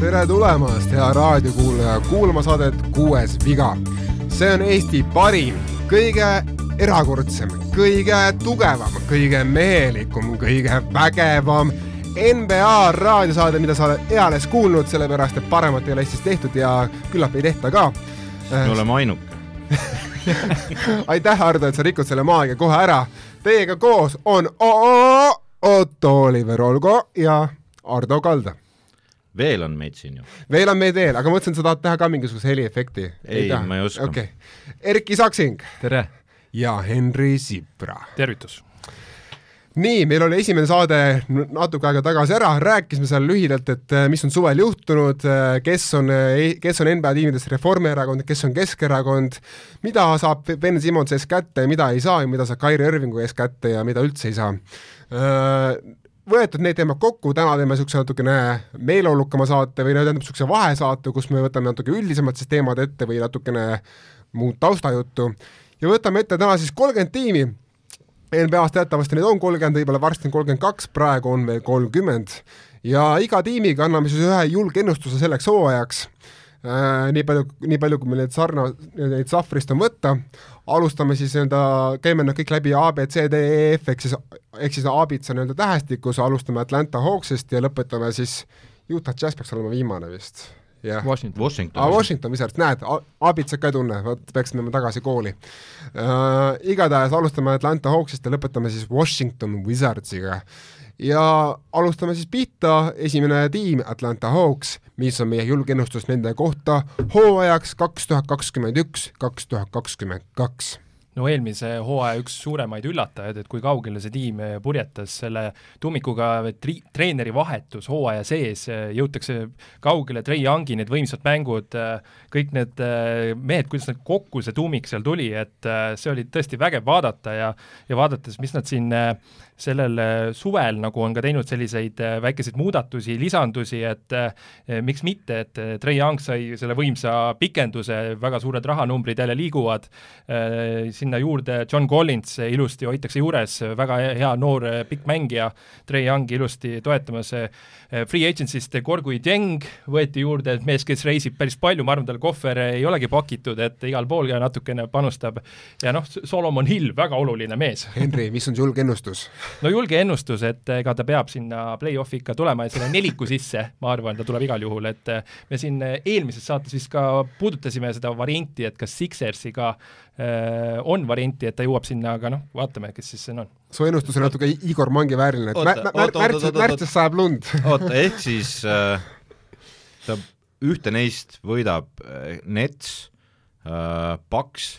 tere tulemast , hea raadiokuulaja , kuulama saadet Kuues viga . see on Eesti parim , kõige erakordsem , kõige tugevam , kõige mehelikum , kõige vägevam NBA raadiosaade , mida sa oled eales kuulnud , sellepärast et paremat ei ole Eestis tehtud ja küllap ei tehta ka . Äh, me oleme ainuke . aitäh , Hardo , et sa rikud selle maagia kohe ära . Teiega koos on OO Otto Oliver Olgo ja Ardo Kalda veel on meid siin ju . veel on meid eel , aga ma mõtlesin , sa tahad teha ka mingisuguse heliefekti . Ei, ma ei oska. okei okay. , Erki Saksing tere! ja Henri Sipra . tervitus! nii , meil oli esimene saade n- natuke aega tagasi ära , rääkisime seal lühidalt , et äh, mis on suvel juhtunud , kes on , kes on NBA tiimides Reformierakond , kes on Keskerakond , mida saab Ben Simmons ees kätte ja mida ei saa ja mida saab Kairi Irvingu ees kätte ja mida üldse ei saa . võetud need teemad kokku , täna teeme niisuguse natukene meeleolukama saate või no tähendab , niisuguse vahesaate , kus me võtame natuke üldisemad siis teemad ette või natukene muud taustajuttu ja võtame ette täna siis kolmkümmend tiimi NBA-s teatavasti neid on kolmkümmend , võib-olla varsti on kolmkümmend kaks , praegu on veel kolmkümmend ja iga tiimiga anname siis ühe julgennustuse selleks hooajaks äh, . nii palju , nii palju , kui meil neid sarna , neid sahvrist on võtta , alustame siis nii-öelda , käime nad kõik läbi A , B , C , D , E , F ehk siis , ehk siis abitsa nii-öelda tähestikus , alustame Atlanta Hawksist ja lõpetame siis Utah Jazz peaks olema viimane vist , jah . Washington . Washington Äh, aa ,. Washington Wizards , näed , abitsat ka ei tunne , vot peaks minema tagasi kooli uh, . igatahes alustame Atlanta Hawksist ja lõpetame siis Washington Wizardsiga . ja alustame siis pihta , esimene tiim Atlanta Hawks , mis on meie julgeennustus nende kohta hooajaks kaks tuhat kakskümmend üks , kaks tuhat kakskümmend kaks . no eelmise hooaja üks suuremaid üllatajaid , et kui kaugele see tiim eh, purjetas selle tummikuga et tri- treeneri vahetus hooaja sees , jõutakse kaugele , Trey Youngi need võimsad mängud , kõik need eh, mehed , kuidas nad kokku see tuumik seal tuli , et eh, see oli tõesti vägev vaadata ja ja vaadates , mis nad siin eh, sellel eh, suvel nagu on ka teinud selliseid eh, väikeseid muudatusi , lisandusi , et eh, miks mitte , et eh, Trey Young sai selle võimsa pikenduse , väga suured rahanumbrid jälle liiguvad eh, sinna juurde , John Collins eh, ilusti hoitakse juures , väga he- hea noor eh, pikk mängija , Trey Young ilusti toetamas , Free Agency'st eh, Gorgui Dieng võeti juurde , mees , kes reisib päris palju , ma arvan , tal kohver eh, ei olegi pakitud , et igal pool ka natukene panustab ja noh , Solomon Hill , väga oluline mees Henri , mis on julgeennustus ? no julge ennustus , et ega ta peab sinna play-off'i ikka tulema ja selle neliku sisse , ma arvan , ta tuleb igal juhul , et me siin eelmises saates vist ka puudutasime seda varianti , et kas Sixersiga äh, on varianti , et ta jõuab sinna , aga noh , vaatame , kes siis siin on . su ennustus on natuke Igor Mangi vääriline , et Oota, mä- mä- oota, oota, märtsis , oota, oota. märtsis sajab lund . oota , ehk siis äh, ta ühte neist võidab äh, Nets äh, , Paks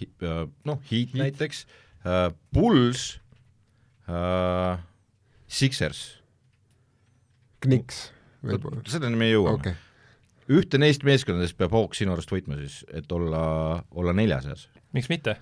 hi, , äh, noh , Heat näiteks äh, , Bulls äh, , Sixers , kniks võib-olla . selleni me jõuame okei okay. . ühte neist meeskondadest peab Hawks sinu arust võitma siis , et olla , olla nelja seas . miks mitte ,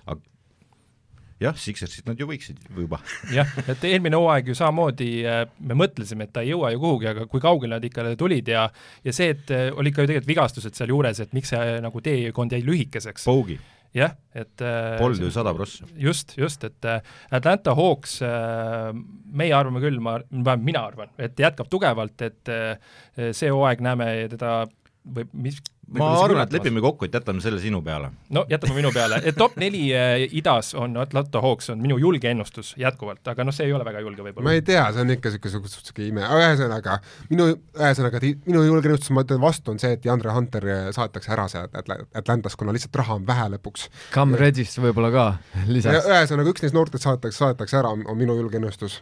jah , Sixersit nad ju võiksid juba . jah , et eelmine hooaeg ju samamoodi äh, me mõtlesime , et ta ei jõua ju kuhugi , aga kui kaugele nad ikka tulid ja ja see , et äh, oli ikka ju tegelikult vigastused sealjuures , et miks see äh, nagu teekond jäi lühikeseks , Bogi , jah , et äh, polnud ju sada prossa . just , just , et äh, Atlanta Hawks äh, , meie arvame küll , ma , vähemalt mina arvan , et jätkab tugevalt , et äh, see hooaeg näeme teda või mis ma arvan , et . lepime kokku , et jätame selle sinu peale . no jätame minu peale , et top neli äh, idas on Atlanta Hawks , on minu julge ennustus jätkuvalt , aga noh , see ei ole väga julge ma võib-olla . ei tea , see on ikka niisugune sihuke ime , aga ühesõnaga minu , ühesõnaga ti- minu julgenõustus , ma ütlen vastu , on see , et Deandre Hunter eh, saadetakse ära sealt Atla- Atlantas , kuna lihtsalt raha on vähe lõpuks . Cam Redist võib-olla ka lisaks . ühesõnaga , üks neist noortest saadetakse , saadetakse ära , on minu julgenõustus .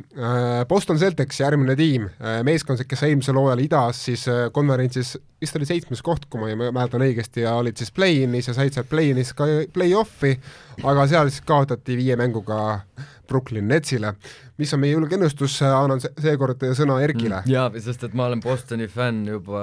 Boston Celtics , järgmine tiim , meeskond , kes sai eelmisel hooajal idas siis eh, konverentsis , vist oli seitsmes koht , kui ma ei mä- mäletan õigesti , ja olid siis play-in'is ja said sealt play-in'is ka play-off'i , aga seal siis kaotati viie mänguga Brooklyn Netsile , mis on meie julgenõustus , annan se- seekord sõna Erkile . jaa , sest et ma olen Bostoni fänn juba ,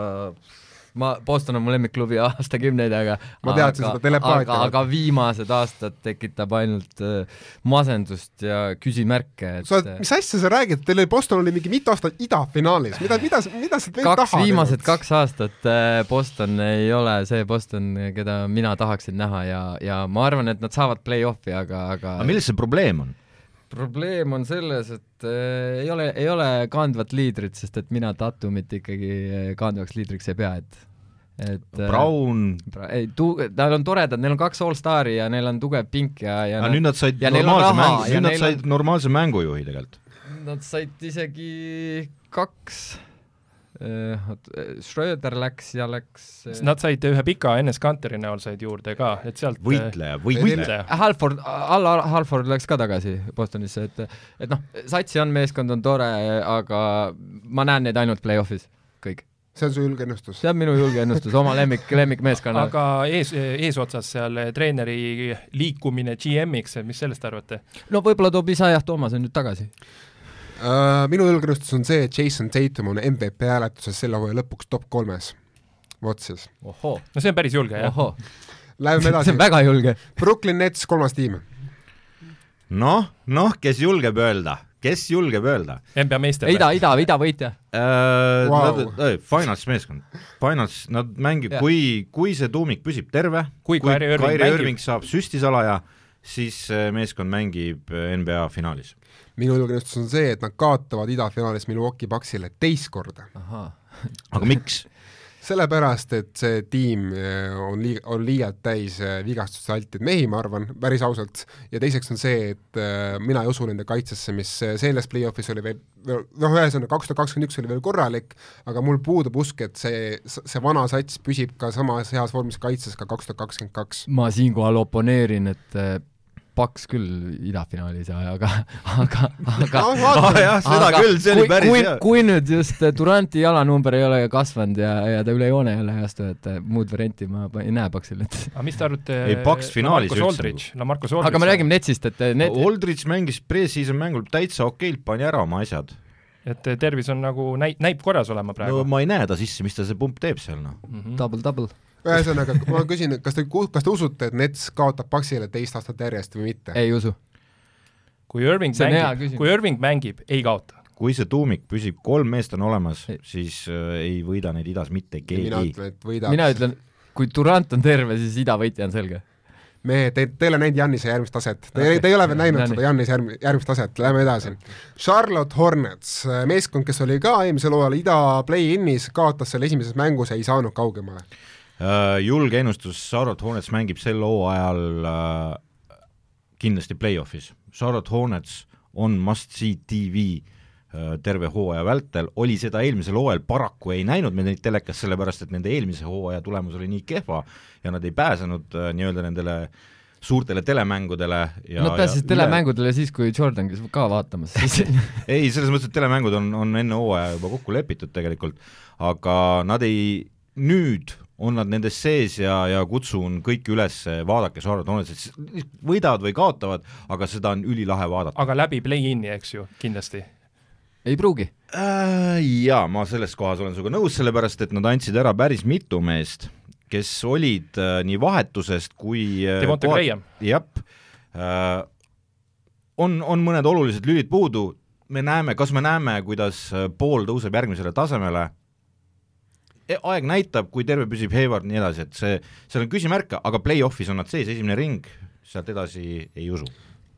ma , Boston on mu lemmikklubi aastakümneid , aga Ma teadsin aga- seda telepaatiat. aga , aga viimased aastad tekitab ainult äh, masendust ja küsimärke , et äh, sa oled , mis asja sa räägid , teil oli Boston oli mingi mitu aastat idafinaalis , mida , mida , mida sa veel kaks tahad ? viimased . kaks aastat äh, Boston ei ole see Boston , keda mina tahaksin näha ja , ja ma arvan , et nad saavad play-off'i , aga , aga aga milles see probleem on ? probleem on selles , et äh, ei ole , ei ole kandvat liidrit , sest et mina Tatumit ikkagi äh, kandvaks liidriks ei pea , et , et äh, Brown , Bra- ei , tu- , tal on toredad , neil on kaks allstari ja neil on tugev pink ja , ja noh, aga nüüd nad said ja neil on normaalse raha mängu , ja nüüd nad neil said normaalse mängujuhi tegelikult . nad said isegi kaks , oot , Schröder läks ja läks äh, Nad said ühe pika NS Kanteri näol said juurde ka , et sealt äh, võitleja , võitleja . võitleja . äh, Halford , Allar Halford läks ka tagasi Bostonisse , et , et noh , satsi on , meeskond on tore , aga ma näen neid ainult play-off'is , kõik . see on su ülgennustus . see on minu julge ennustus , oma lemmik , lemmikmeeskonna . aga ees , eesotsas seal äh, treeneri liikumine GM-iks , mis sellest arvate ? no võib-olla toob isa jah , Toomas on nüüd tagasi . Äh, minu ülgennustus on see , et Jason Tatum on MVP hääletuses selle hooaja lõpuks top kolmes . vot siis . ohoo , no see on päris julge , jah . ohoo , Läheme see edasi on , väga julge . Brooklyn Nets , kolmas tiim . noh , noh , kes julgeb öelda , kes julgeb öelda ? NBA meeste ida , ida , ida võitja . Vau. Wow. Nad , finals meeskond , finals , nad mängib Jah. , kui , kui see tuumik püsib terve , Kui Kyrie Irving mängib. Irving saab süstisalaja , siis äh, meeskond mängib äh, NBA finaalis . minu julgennustus on see , et nad kaotavad idafinaalis Milwaukee Bucksile teist korda . aga miks ? sellepärast , et see tiim eh, on lii- , on liialt täis eh, vigastuste altid mehi , ma arvan , päris ausalt , ja teiseks on see , et eh, mina ei usu nende kaitsesse , mis eh, selles play-off'is oli veel , noh , ühesõnaga kaks tuhat kakskümmend üks oli veel korralik , aga mul puudub usk , et see , see vana sats püsib ka samas heas vormis kaitses ka kaks tuhat kakskümmend kaks . ma siinkohal oponeerin , et äh, paks küll idafinaali ei saa , aga , aga , aga noh , vaatame , Ah, jah , aga kui- kui, . kui nüüd just äh, Duranti jalanumber ei ole kasvanud ja , ja ta üle joone ei ole ei astu , et äh, muud varianti ma pa- ei näe paksil , et aga mis te arvate Ei, Bucks finaalis Lamarcus üldse Aldridge , Lamarcus Aldridge . aga me räägime Netsist , et äh, need Oldridge mängis pre-season mängul täitsa okeilt , pani ära oma asjad . et tervis on nagu näi- , näib korras olema no praegu . Mhm. ma ei näe ta sisse , mis ta see pump teeb seal noh . double-double , ühesõnaga , ma küsin , kas te , kas te usute , et Nets kaotab Paxile teist aastat järjest või mitte ? ei usu . kui Irving See on hea mängib küsimus. , kui Irving mängib , ei kaota . kui see tuumik püsib , kolm meest on olemas Ei. , siis äh, ei võida neid idas mitte mina keegi . ütlen , et võidab . mina ütlen , kui Durant on terve , siis idavõitja on selge . me , te , te ei ole näinud Jannise järgmist taset , te okay. Okei. , te ei ole veel näinud No seda nii. Jannise järg- , järgmist taset , lähme edasi . Charlotte Hornets , meeskond , kes oli ka eelmisel hooajal ida play-in'is , kaotas selle esimeses mängus ja ei saanud kaugemale . julge ennustus , Äh, Charlotte Hornets mängib sel hooajal äh, kindlasti play-off'is . Charlotte Hornets on must-see tv äh, terve hooaja vältel , oli seda eelmisel hooajal , paraku ei näinud me neid telekas , sellepärast et nende eelmise hooaja tulemus oli nii kehva ja nad ei pääsenud äh, nii-öelda nendele suurtele telemängudele ja Nad pääsesid ja telemängudele siis , kui Jordan käis ka vaatamas , siis üle... . ei , selles mõttes , et telemängud on , on enne hooaja juba kokku lepitud tegelikult , aga nad ei , nüüd on nad nendes sees ja , ja kutsun kõiki üles , vaadake Charlotte Hornetsit , võidavad või kaotavad , aga seda on ülilahe vaadata aga läbi play-in'i , eks ju , kindlasti . ei pruugi . äh, . Jaa , ma selles kohas olen sinuga nõus , sellepärast et nad andsid ära päris mitu meest , kes olid äh, nii vahetusest kui äh, Devonta koha- Graham , jah , Äh, on , on mõned olulised lülid puudu , me näeme , kas me näeme , kuidas äh, pool tõuseb järgmisele tasemele E- aeg näitab , kui terve püsib Hayward , nii edasi , et see , seal on küsimärke , aga play-off'is on nad sees , esimene ring , sealt edasi ei usu .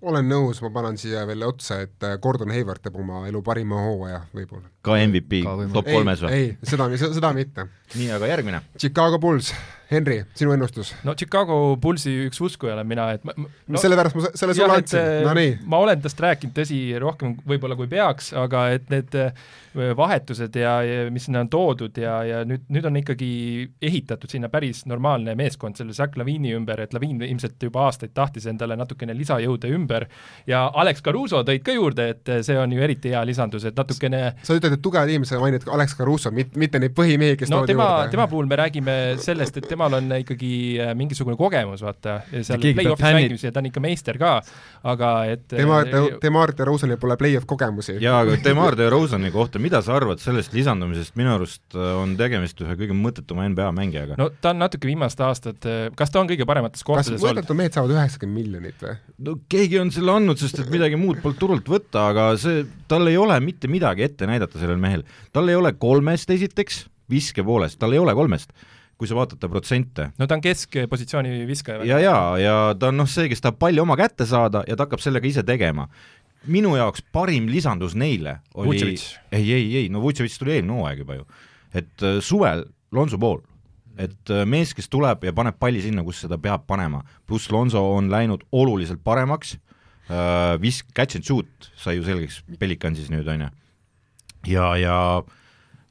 olen nõus , ma panen siia veel otsa , et äh, Gordon Hayward teeb oma elu parima hooaja võib-olla . ka MVP Ka võimalik. top ei kolmes , või ? ei , seda , seda mitte . nii , aga järgmine . Chicago Bulls , Henri , sinu ennustus no Chicago Bullsi üks uskuja olen mina , et ma, ma- no, ? no, sellepärast ma se- selle sulle jah, et, andsin , äh, no nii . ma olen tast rääkinud , tõsi , rohkem võib-olla kui peaks , aga et need äh, vahetused ja, ja mis sinna on toodud ja , ja nüüd , nüüd on ikkagi ehitatud sinna päris normaalne meeskond selle Zach Lavine'i ümber , et Lavine ilmselt juba aastaid tahtis endale natukene lisajõude ümber ja Alex Caruso tõid ka juurde , et äh, see on ju eriti hea lisandus , et natukene sa ütled , et tugev tiim , sa mainid Alex Caruso , mit- , mitte neid põhimehi , kes no toodi tema , juurde . tema puhul me räägime sellest , et temal on ikkagi äh, mingisugune kogemus , vaata , seal keegi peab play-off'is fännid- mängimisel , ta on ikka meister ka , aga et äh, tema , tema Arte Rosenil pole play-off kogemusi . jaa , aga Demar DeRozani kohta , mida sa arvad sellest lisandumisest , minu arust äh, on tegemist ühe kõige mõttetuma NBA mängijaga . no ta on natuke viimased aastad , kas ta on kõige paremates kas kohtades olnud ? mõttetud mehed saavad üheksakümmend miljonit või ? no keegi on selle andnud , sest et midagi muud polnud turult võtta , aga see , tal ei ole mitte midagi ette näidata sellel mehel . tal ei ole kolmest esiteks , viske poolest , tal ei ole kolmest , kui sa vaatad ta protsente . no ta on keskpositsiooni viskaja . ja , ja , ja ta on noh , see , kes tahab palli oma kätte saada ja ta hakkab sellega ise tegema . minu jaoks parim lisandus neile oli Vucevic. ei , ei , ei , no Vutševits tuli eelmine hooaeg juba ju . et äh, suvel Lonzo pool , et äh, mees , kes tuleb ja paneb palli sinna , kus seda peab panema , pluss Lonzo on läinud oluliselt paremaks , vis- , catch and shoot sai ju selgeks Pelicansis nüüd , on ju . ja , ja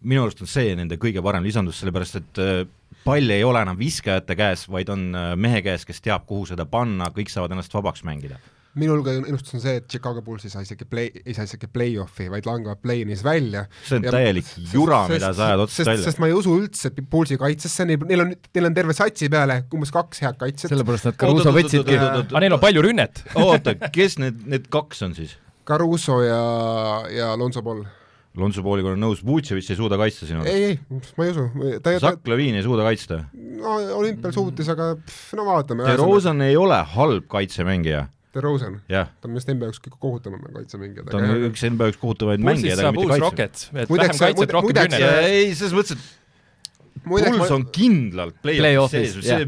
minu arust on see nende kõige parem lisandus , sellepärast et äh, pall ei ole enam viskajate käes , vaid on äh, mehe käes , kes teab , kuhu seda panna , kõik saavad ennast vabaks mängida . minul ka ennustus on see , et Chicago Bulls ei saa isegi play , ei saa isegi play-off'i , vaid langevad play-in'is välja . see on Ja- ja, täielik jura , mida sa ajad otsast sest , välja . sest ma ei usu üldse Bullsi kaitsesse , neil neil on , neil on terve satsi peale umbes kaks head kaitset , sellepärast nad Caruso võtsidki . aga Ah, neil on palju rünnet . oota , kes need , need kaks on siis ? Caruso ja , ja Lonzo Ball . Lonzo Pooliga olen nõus , Vutševitš ei suuda kaitsta sinu arust . ei , ei , ma ei usu , ta , ta , Zach Levine ei suuda kaitsta . no olümpial suutis , aga pff, no vaatame . DeRozan ei ole halb kaitsemängija , DeRozan , jah . ta on vist NBA üks kõige kohutavam kaitsemängija . ta on üks NBA üks kohutavaid Pulsis mängijaid , aga saab uus mitte kaitsja . Rocket , et Muideks vähem sa- kaitset , muide- rohkem muideks rünnet . ei , selles mõttes , et Puls on kindlalt play-off'is Play-off'is, sees , see ,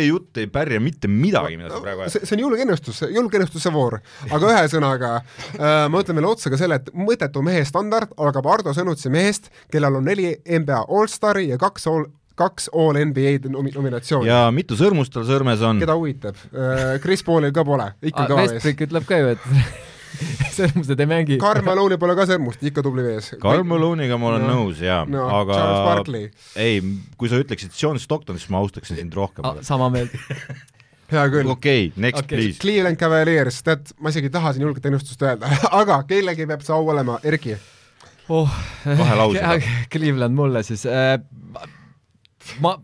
see jutt ei pärja mitte midagi , mida sa praegu see ajad ., see on julgeennustus , julgeennustuse voor , aga ühesõnaga äh, ma ütlen veel otsa ka selle , et mõttetu mehe standard algab Ardo Sõnutsi mehest , kellel on neli NBA allstari ja kaks all , kaks all NBA nomi- nominatsiooni . ja mitu sõrmust tal sõrmes on ? keda huvitab ? Chris Paulil ka pole , ikka kõva mees . Vestbrik Ah, ütleb ka ju , et sõrmused ei mängi . Karl Maloney pole ka sõrmust , ikka tubli mees . Karl Malone'iga ma olen No. no, nõus jaa No, no, , aga Charles Barkley. ei , kui sa ütleksid John Stockton , siis ma austaksin sind rohkem . Ah, sama meelt . hea küll . Ah, okei , next okay, Okei, please . Cleveland Cavaliers , tead , ma isegi ei taha siin julget ennustust öelda , aga kellelgi peab see au olema , Erki . oh. . Kahe lausega. . Cleveland mulle siis äh, . ma ,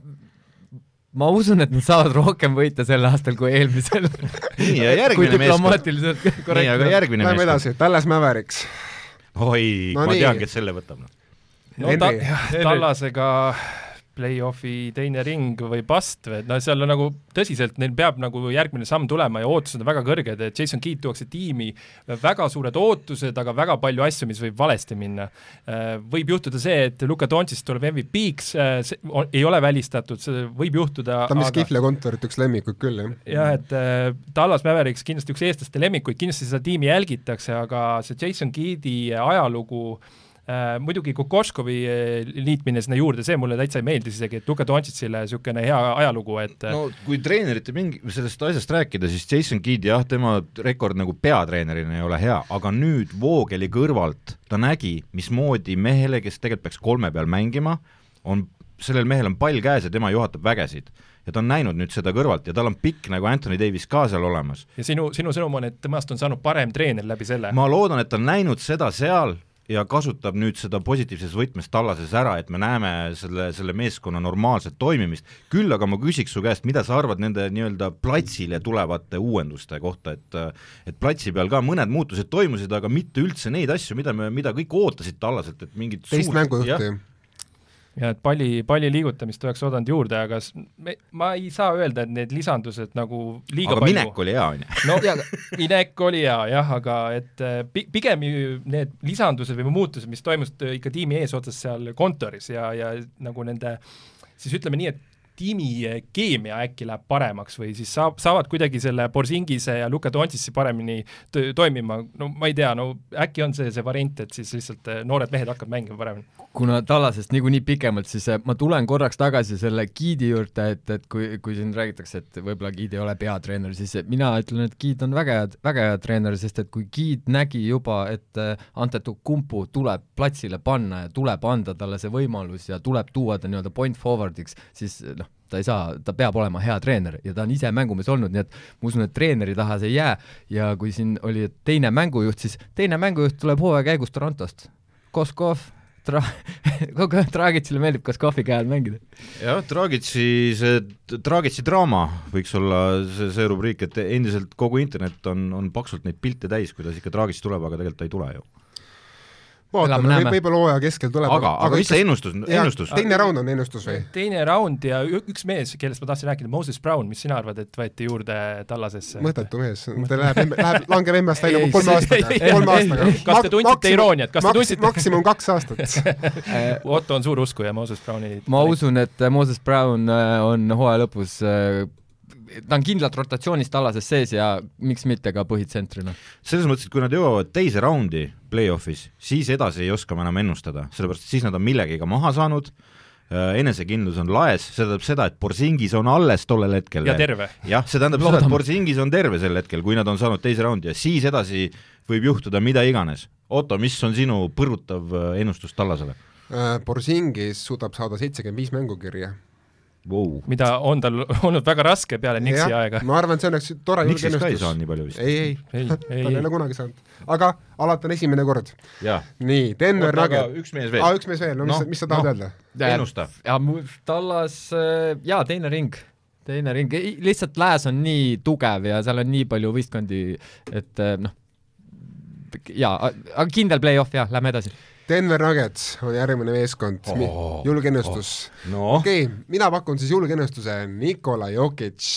ma usun , et nad saavad rohkem võita sel aastal kui eelmisel . nii , ja järgmine meeskond . diplomaatiliselt nii , aga korrektne . järgmine Lähme meeskond . edasi , Dallas Mavericks . oi No no, , ma nii. tean , kes selle võtab . noh. no ta Henry. , Tallasega play-off'i teine ring või past või , et noh , seal on nagu tõsiselt , neil peab nagu järgmine samm tulema ja ootused on väga kõrged , et Jason Keat tuuakse tiimi , väga suured ootused , aga väga palju asju , mis võib valesti minna . võib juhtuda see , et Luka Doncic tuleb MVP-ks , ei ole välistatud , see võib juhtuda . ta on vist Kihvla kontorit üks lemmikuid küll , jah . jah , et äh, Dallas Mavericks kindlasti üks eestlaste lemmikuid , kindlasti seda tiimi jälgitakse , aga see Jason Keedi ajalugu äh, muidugi Kokoškovi äh, liitmine sinna juurde , see mulle täitsa ei meeldis isegi , et Luka Doncicile niisugune hea ajalugu , et no. no kui treenerite mingi , sellest asjast rääkida , siis Jason Kidd jah , tema rekord nagu peatreenerina ei ole hea , aga nüüd Voogeli kõrvalt ta nägi , mismoodi mehele , kes tegelikult peaks kolme peal mängima , on , sellel mehel on pall käes ja tema juhatab vägesid . ja ta on näinud nüüd seda kõrvalt ja tal on pikk nagu Anthony Davis ka seal olemas . ja sinu , sinu sõnum on , et temast on saanud parem treener läbi selle Ma... . ma loodan , et ta on näinud seda seal ja kasutab nüüd seda positiivses võtmes tallases ära , et me näeme selle , selle meeskonna normaalset toimimist , küll aga ma küsiks su käest , mida sa arvad nende nii-öelda platsile tulevate uuenduste kohta , et et platsi peal ka mõned muutused toimusid , aga mitte üldse neid asju , mida me , mida kõik ootasid tallaselt , et mingid teist suurt- jah. mängujuhti . ja et palli , palli liigutamist oleks oodanud juurde , aga s- me, ma ei saa öelda , et need lisandused nagu liiga aga palju minek oli hea , on ju . no minek oli hea jah , aga et eh, pi- pigem ju need lisandused või muutused , mis toimusid eh, ikka tiimi eesotsas seal kontoris ja , ja nagu nende siis ütleme nii , et tiimi eh, keemia äkki läheb paremaks või siis saab , saavad kuidagi selle Borsingise ja Luka Doncic'i paremini tö- toimima , no ma ei tea , no äkki on see see variant , et siis lihtsalt eh, noored mehed hakkavad mängima paremini . kuna Tallasest niikuinii pikemalt , siis äh, ma tulen korraks tagasi selle Giidi juurde , et , et kui , kui siin räägitakse , et võib-olla Giid ei ole peatreener , siis eh, mina ütlen , et Giid on väga hea , väga hea treener , sest et kui Giid nägi juba , et äh, Antetokounmpo tuleb platsile panna ja tuleb anda talle see võimalus ja tuleb tuua ta nii-öelda point forward'iks , siis äh, noh , ta ei saa , ta peab olema hea treener ja ta on ise mängumees olnud , nii et ma usun , et treeneri taha see ei jää ja kui siin oli et teine mängujuht , siis teine mängujuht tuleb hooaja käigus Torontost , Koskov tra- , kogu aeg Draagitsile meeldib Kaskovi käe all mängida . jah , Dragici see , Dragici draama võiks olla see , see rubriik , et endiselt kogu internet on , on paksult neid pilte täis , kuidas ikka Dragic tuleb , aga tegelikult ta ei tule ju . vaatame , Elame-näeme. võib- võib-olla hooaja keskel tuleb . aga , aga mis see ennustus , ennustus ? teine raund on ennustus või ? teine raund ja ü- üks mees , kellest ma tahtsin rääkida , Moses Brown , mis sina arvad , et võeti juurde Tallasesse ? mõttetu mees , ta läheb , läheb , langeb MM-ist välja Ei, kolme see- aastaga ei, , kolme ei, aastaga ei. . Kas te tundsite irooniat? Kas te tundsite- maksimum kaks aastat . Äh, Otto on suur uskuja Moses Browni . ma usun , et Moses Brown äh, on hooaja lõpus äh, ta on kindlalt rotatsioonist alases sees ja miks mitte ka põhitsentrina . selles mõttes , et kui nad jõuavad teise raundi play-off'is , siis edasi ei oska ma enam ennustada , sellepärast et siis nad on millegagi maha saanud , enesekindlus on laes , see tähendab seda , et Borsingis on alles tollel hetkel ja . terve . jah , see tähendab seda , et Loodame. Borsingis on terve sel hetkel , kui nad on saanud teise raundi ja siis edasi võib juhtuda mida iganes . Otto , mis on sinu põrutav äh, ennustus Tallasele Borsingis suudab saada seitsekümmend viis mängu kirja . wow. ? mida on tal olnud väga raske peale Nixi aega . ma arvan , et see on üks tore Nixis ka ei saanud nii palju vist . ei , ei , ei , ta ei , ei ei ole , kunagi saanud , aga alati on esimene kord . jaa . nii , Denver Nugget , üks aa , mees veel , üks mees veel , no mis Noh, sa , mis sa tahad noh. öelda ? ennusta . ja mu tallas äh, jaa , teine ring , teine ring , lihtsalt lääs on nii tugev ja seal on nii palju võistkondi , et äh, noh , jaa , aga kindel play-off jah , lähme edasi . Denver Nuggets on järgmine meeskond Oo. oh, , julge ennustus oh. . noh , okei okay, , mina pakun siis julge ennustuse Nikola Jokic .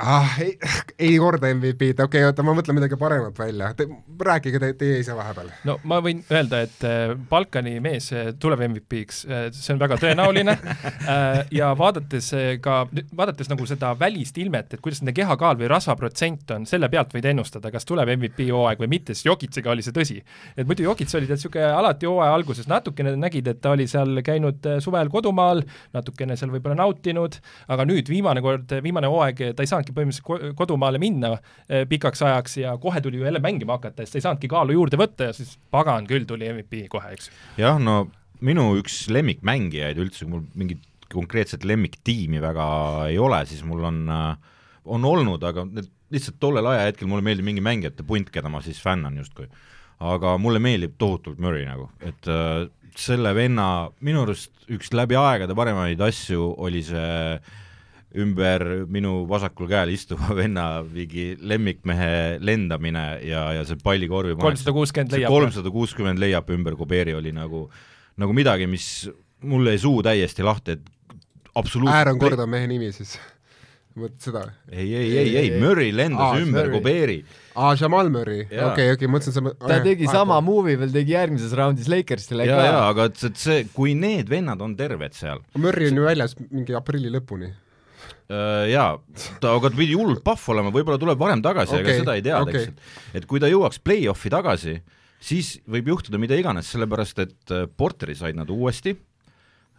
Ah, ei , ei korda MVP-d , okei okay, , oota , ma mõtlen midagi paremat välja , te rääkige te, teie ise vahepeal . no ma võin öelda , et äh, Balkani mees äh, tuleb MVP-ks , äh, see on väga tõenäoline Äh, ja vaadates äh, ka , vaadates nagu seda välist ilmet , et kuidas nende kehakaal või rasvaprotsent on , selle pealt võid ennustada , kas tuleb MVP hooaeg või mitte , sest Jokitsiga oli see tõsi . et muidu Jokits oli tead niisugune alati hooaja alguses , natukene nägid , et ta oli seal käinud äh, suvel kodumaal , natukene seal võib-olla nautinud , aga nüüd viimane kord , viimane hooaeg , ta ei saanudki põhimõtteliselt ko- kodumaale minna eh, pikaks ajaks ja kohe tuli ju jälle mängima hakata , sest ta ei saanudki kaalu juurde võtta ja siis pagan küll tuli MVP kohe , eks . jah , no minu üks lemmikmängijaid üldse , mul mingit konkreetset lemmiktiimi väga ei ole , siis mul on , on olnud , aga need lihtsalt tollel ajahetkel mulle meeldib mingi mängijate punt , keda ma siis fännan justkui . aga mulle meeldib tohutult Murray nagu , et äh, selle venna minu arust üks läbi aegade paremaid asju oli see ümber minu vasakul käel istuva venna mingi lemmikmehe lendamine ja , ja see pallikorvi kolmsada kuuskümmend see leiab . kolmsada kuuskümmend leiab ümber Kuberi oli nagu , nagu midagi , mis mul jäi suu täiesti lahti , et absoluutselt Aaron Kord on mehe nimi siis , mõtled seda ? ei , ei , ei , ei , Murry lendas Aa, ah, ümber Murray. Kuberi . aa , Ah, Jamal Murray , okei , Jaa. okei okay, , mõtlesin sa ta tegi sama movie veel tegi järgmises raundis Lakersile ja , ja ka . aga et see- et see , kui need vennad on terved seal Murray on ju väljas mingi aprilli lõpuni . äh, , jaa , ta , aga ta pidi hullult pahv olema , võib-olla tuleb varem tagasi okay, , Okei, aga seda ei tea okay. , okei. eks , et et kui ta jõuaks play-off'i tagasi , siis võib juhtuda mida iganes , sellepärast et äh, Porteri said nad uuesti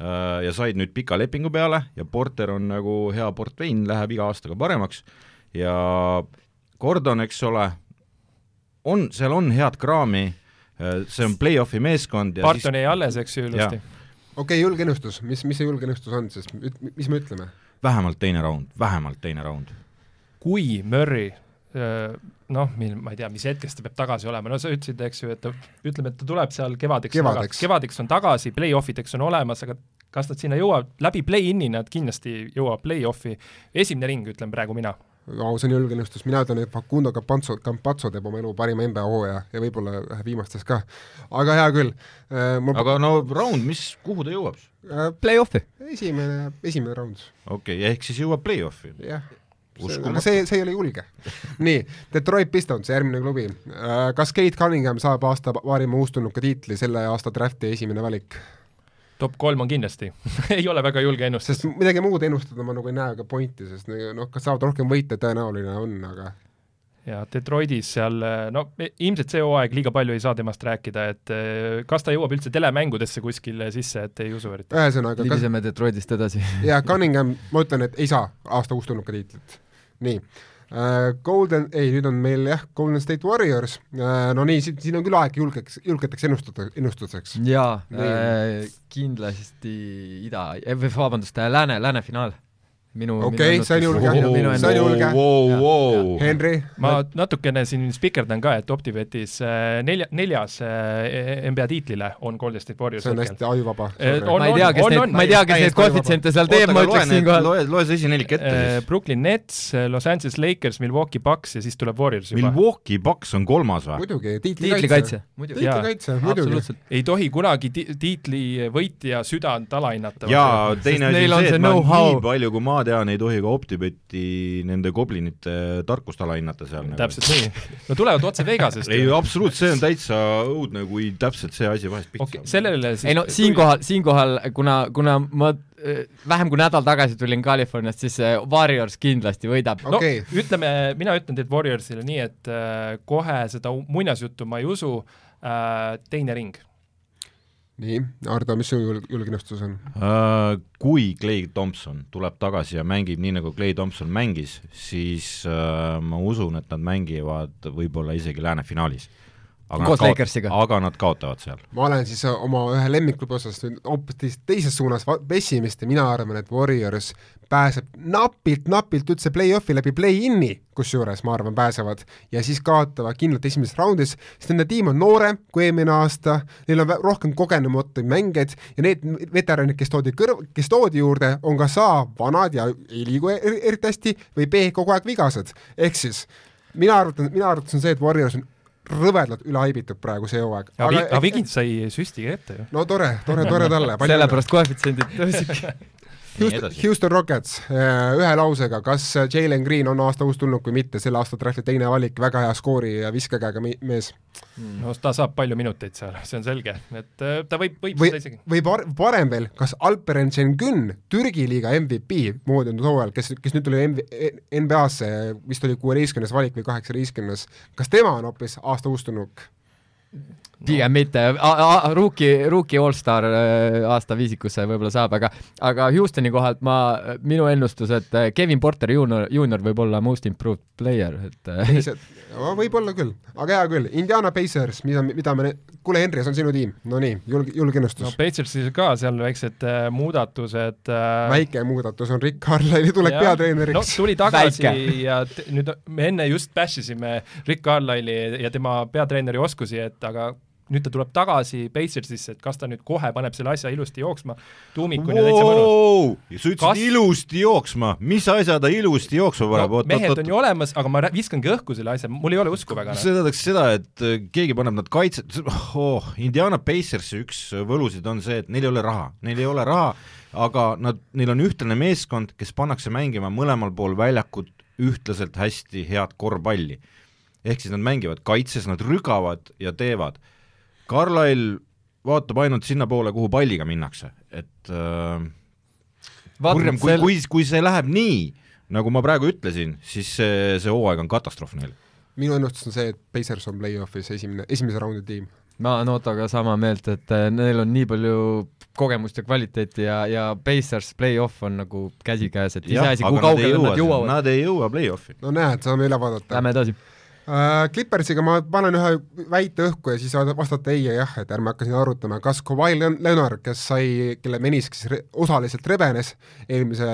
äh, ja said nüüd pika lepingu peale ja Porter on nagu hea portvein , läheb iga aastaga paremaks ja Gordon , eks ole , on , seal on head kraami , see on play-off'i meeskond ja Barton jäi alles , eks ju , ilusti . okei okay, , julge ennustus , mis , mis see julge ennustus on siis , mis me ütleme ? siis vähemalt teine raund , vähemalt teine raund . kui Murry öö, noh , mil , ma ei tea , mis hetkest ta peab tagasi olema , no sa ütlesid , eks ju , et ta , ütleme , et ta tuleb seal kevadeks, Kevadeks. tagasi. kevadeks on tagasi , play-off ideks on olemas , aga kas nad sinna jõuavad , läbi play-in'i nad kindlasti jõuavad play-off'i , esimene ring , ütlen praegu mina no see on julge ennustus , mina ütlen , et Facundo Campazzo , Campazzo teeb oma elu parima NBA hooaja ja võib-olla ühe viimastest ka . aga hea küll , ma aga... aga no raund , mis , kuhu ta jõuab ? Play-off'i . esimene , esimene raund , okei okay, , ehk siis jõuab play-off'i . jah . Uskumatu. aga see , see ei ole julge . nii , Detroit Pistons , järgmine klubi . kas Kate Cunningham saab aasta parima uustulnuka tiitli , selle aasta drafti esimene valik ? top kolm on kindlasti , ei ole väga julge ennustus . sest midagi muud ennustada ma nagu ei näe ka pointi , sest noh , kas saavad rohkem võita , tõenäoline on , aga ja Detroitis seal , no e- ilmselt see hooaeg liiga palju ei saa temast rääkida , et eh, kas ta jõuab üldse telemängudesse kuskile sisse , et ei usu eriti . ühesõnaga , kas libiseme Detroitist edasi . ja Cunningham , ma ütlen , et ei saa aasta uustulnuka tiitlit . nii . Golden , ei nüüd on meil jah , Golden State Warriors , no nii , siin , siin on küll aeg julgeks , julgeteks ennustada , ennustuseks . jaa äh, Nii. , kindlasti ida , vabandust , lääne , lääne finaal . minu Okei, see on julge. Minu- minu See on ennustus. julge. wow, Jaa, wow. Henry , Äh, ma natukene siin spikerdan ka , et OpTibetis eh, nelja , neljas eh, NBA tiitlile on Golden State Warriors see on hästi ajuvaba . Eh, on- ma ei tea , kes on- neid on- , ma ei tea , kes täiesti neid koefitsiente seal teeb , ma ütleks siinkohal . loe , loe see esinelik ette Eh, Äh, siis . Brooklyn Nets , Los Angeles Lakers , Milwaukee Bucks ja siis tuleb Warriors juba . Milwaukee Bucks on kolmas või ? muidugi , tiitlikaitse . tiitlikaitse . muidugi . tiitlikaitse , muidugi . absoluutselt . ei tohi kunagi ti tiitli võitja südant alahinnata . jaa , teine asi neil on see , see et ma know-how. nii palju , kui ma tean , ei tohi ka OpTibeti nende goblinite tarkust ala hinnata seal nagu. . täpselt nii . no tulevad otse Vegasest . ei , absoluutselt , see on täitsa õudne , kui täpselt see asi vahest pihta okei , sellele siis ei no siinkohal , siinkohal , kuna , kuna ma eh, vähem kui nädal tagasi tulin Californiast , siis eh, Warriors kindlasti võidab Okei. no, . no ütleme , mina ütlen teid Warriorsile nii , et äh, kohe seda u- muinasjuttu ma ei usu äh, , teine ring . nii , Ardo , mis su jul- julgenõustus on ? Äh, Kui Clay Thompson tuleb tagasi ja mängib nii , nagu Clay Thompson mängis , siis äh, ma usun , et nad mängivad võib-olla isegi lääne finaalis . Koos Lakersiga. aga nad kaotavad seal . ma olen siis äh, oma ühe lemmiklubi osas nüüd hoopis teis- teises suunas va- pessimist ja mina arvan , et Warriors pääseb napilt-napilt üldse play-off'i läbi play-in'i , kusjuures ma arvan , pääsevad , ja siis kaotavad kindlalt esimeses raundis , sest nende tiim on noorem kui eelmine aasta , neil on vä- rohkem kogenumatuid mängijaid ja need m- veteranid , kes toodi kõrv , kes toodi juurde , on kas A vanad ja ei liigu er- eriti hästi või B kogu aeg vigased , ehk siis mina arvan , mina arvates on see , et Warriors on rõvedalt üle haibitud praegu see hooaeg . aga Vigint sai süsti kätte ju . no tore , tore , tore talle , palju õnne . sellepärast koefitsiendid tõusidki . nii Houston, edasi . Houston Rockets , ühe lausega , kas Jalen Green on aasta uus tulnud või mitte , selle aasta trahvi teine valik , väga hea skoori ja viskekäega mi- mees . no ta saab palju minuteid seal , see on selge , et äh, ta võib , võib või seda isegi ,, või par- parem veel , kas Alperen Tšengün , Türgi liiga MVP möödunud hooajal , kes , kes nüüd tuli MV, NBA-sse , vist oli kuueteistkümnes valik või kaheksateistkümnes , kas tema on hoopis aasta uus tulnuk ? pigem mitte , Ruuki , Ruuki allstar äh, aasta viisikusse võib-olla saab , aga aga Houstoni kohalt ma , minu ennustus , et äh, Kevin Porter juunior , juunior võib olla most improved player , et äh, võib-olla küll , aga hea küll , Indiana Pacers , mida , mida me , kuule , Henri , see on sinu tiim , no nii , julge , no julgeennustus . Pacersil ka seal väiksed äh, muudatused äh, väike muudatus on Rick Carlile'i tulek Jah. no peatreeneriks . tuli tagasi Väike. ja t- nüüd me enne just bash isime Rick Carlile'i ja tema peatreeneri oskusi , et aga nüüd ta tuleb tagasi Pacersisse , et kas ta nüüd kohe paneb selle asja ilusti jooksma , tuumik on ju täitsa mõnus . Wow! ja sa ütlesid Kas- Kas... ilusti jooksma , mis asja ta ilusti jooksma paneb No, no, , mehed on ju olemas , aga ma rää- viskangi õhku selle asja , mul ei ole usku väga . see tähendaks seda , et äh, keegi paneb nad kaitse , oh, Indiana Pacersi üks äh, võlusid on see , et neil ei ole raha , neil ei ole raha , aga nad , neil on ühtlane meeskond , kes pannakse mängima mõlemal pool väljakut ühtlaselt hästi head korvpalli . ehk siis nad mängivad kaitses , nad rügavad ja teevad . Carlyle vaatab ainult sinnapoole , kuhu palliga minnakse , et äh, kurjem , kui , kui , kui see läheb nii , nagu ma praegu ütlesin , siis see , see hooaeg on katastroof neil . minu ennustus on see , et Pacers on play-off'is esimene , esimese raundi tiim . ma olen Ottoga sama meelt , et äh, neil on nii palju kogemust ja kvaliteeti ja , ja Pacers play-off on nagu käsikäes , et iseasi , kui kaugele nad jõuavad . Nad ei jõua play-off'i . no näed , saame üle vaadata . Lähme edasi . Klippersiga ma panen ühe väite õhku ja siis saad vastata ei ja jah , et ärme hakka siin arutama , kas Kawhi Leon- Leonard , kes sai , kelle menisk siis re- osaliselt rebenes eelmise ,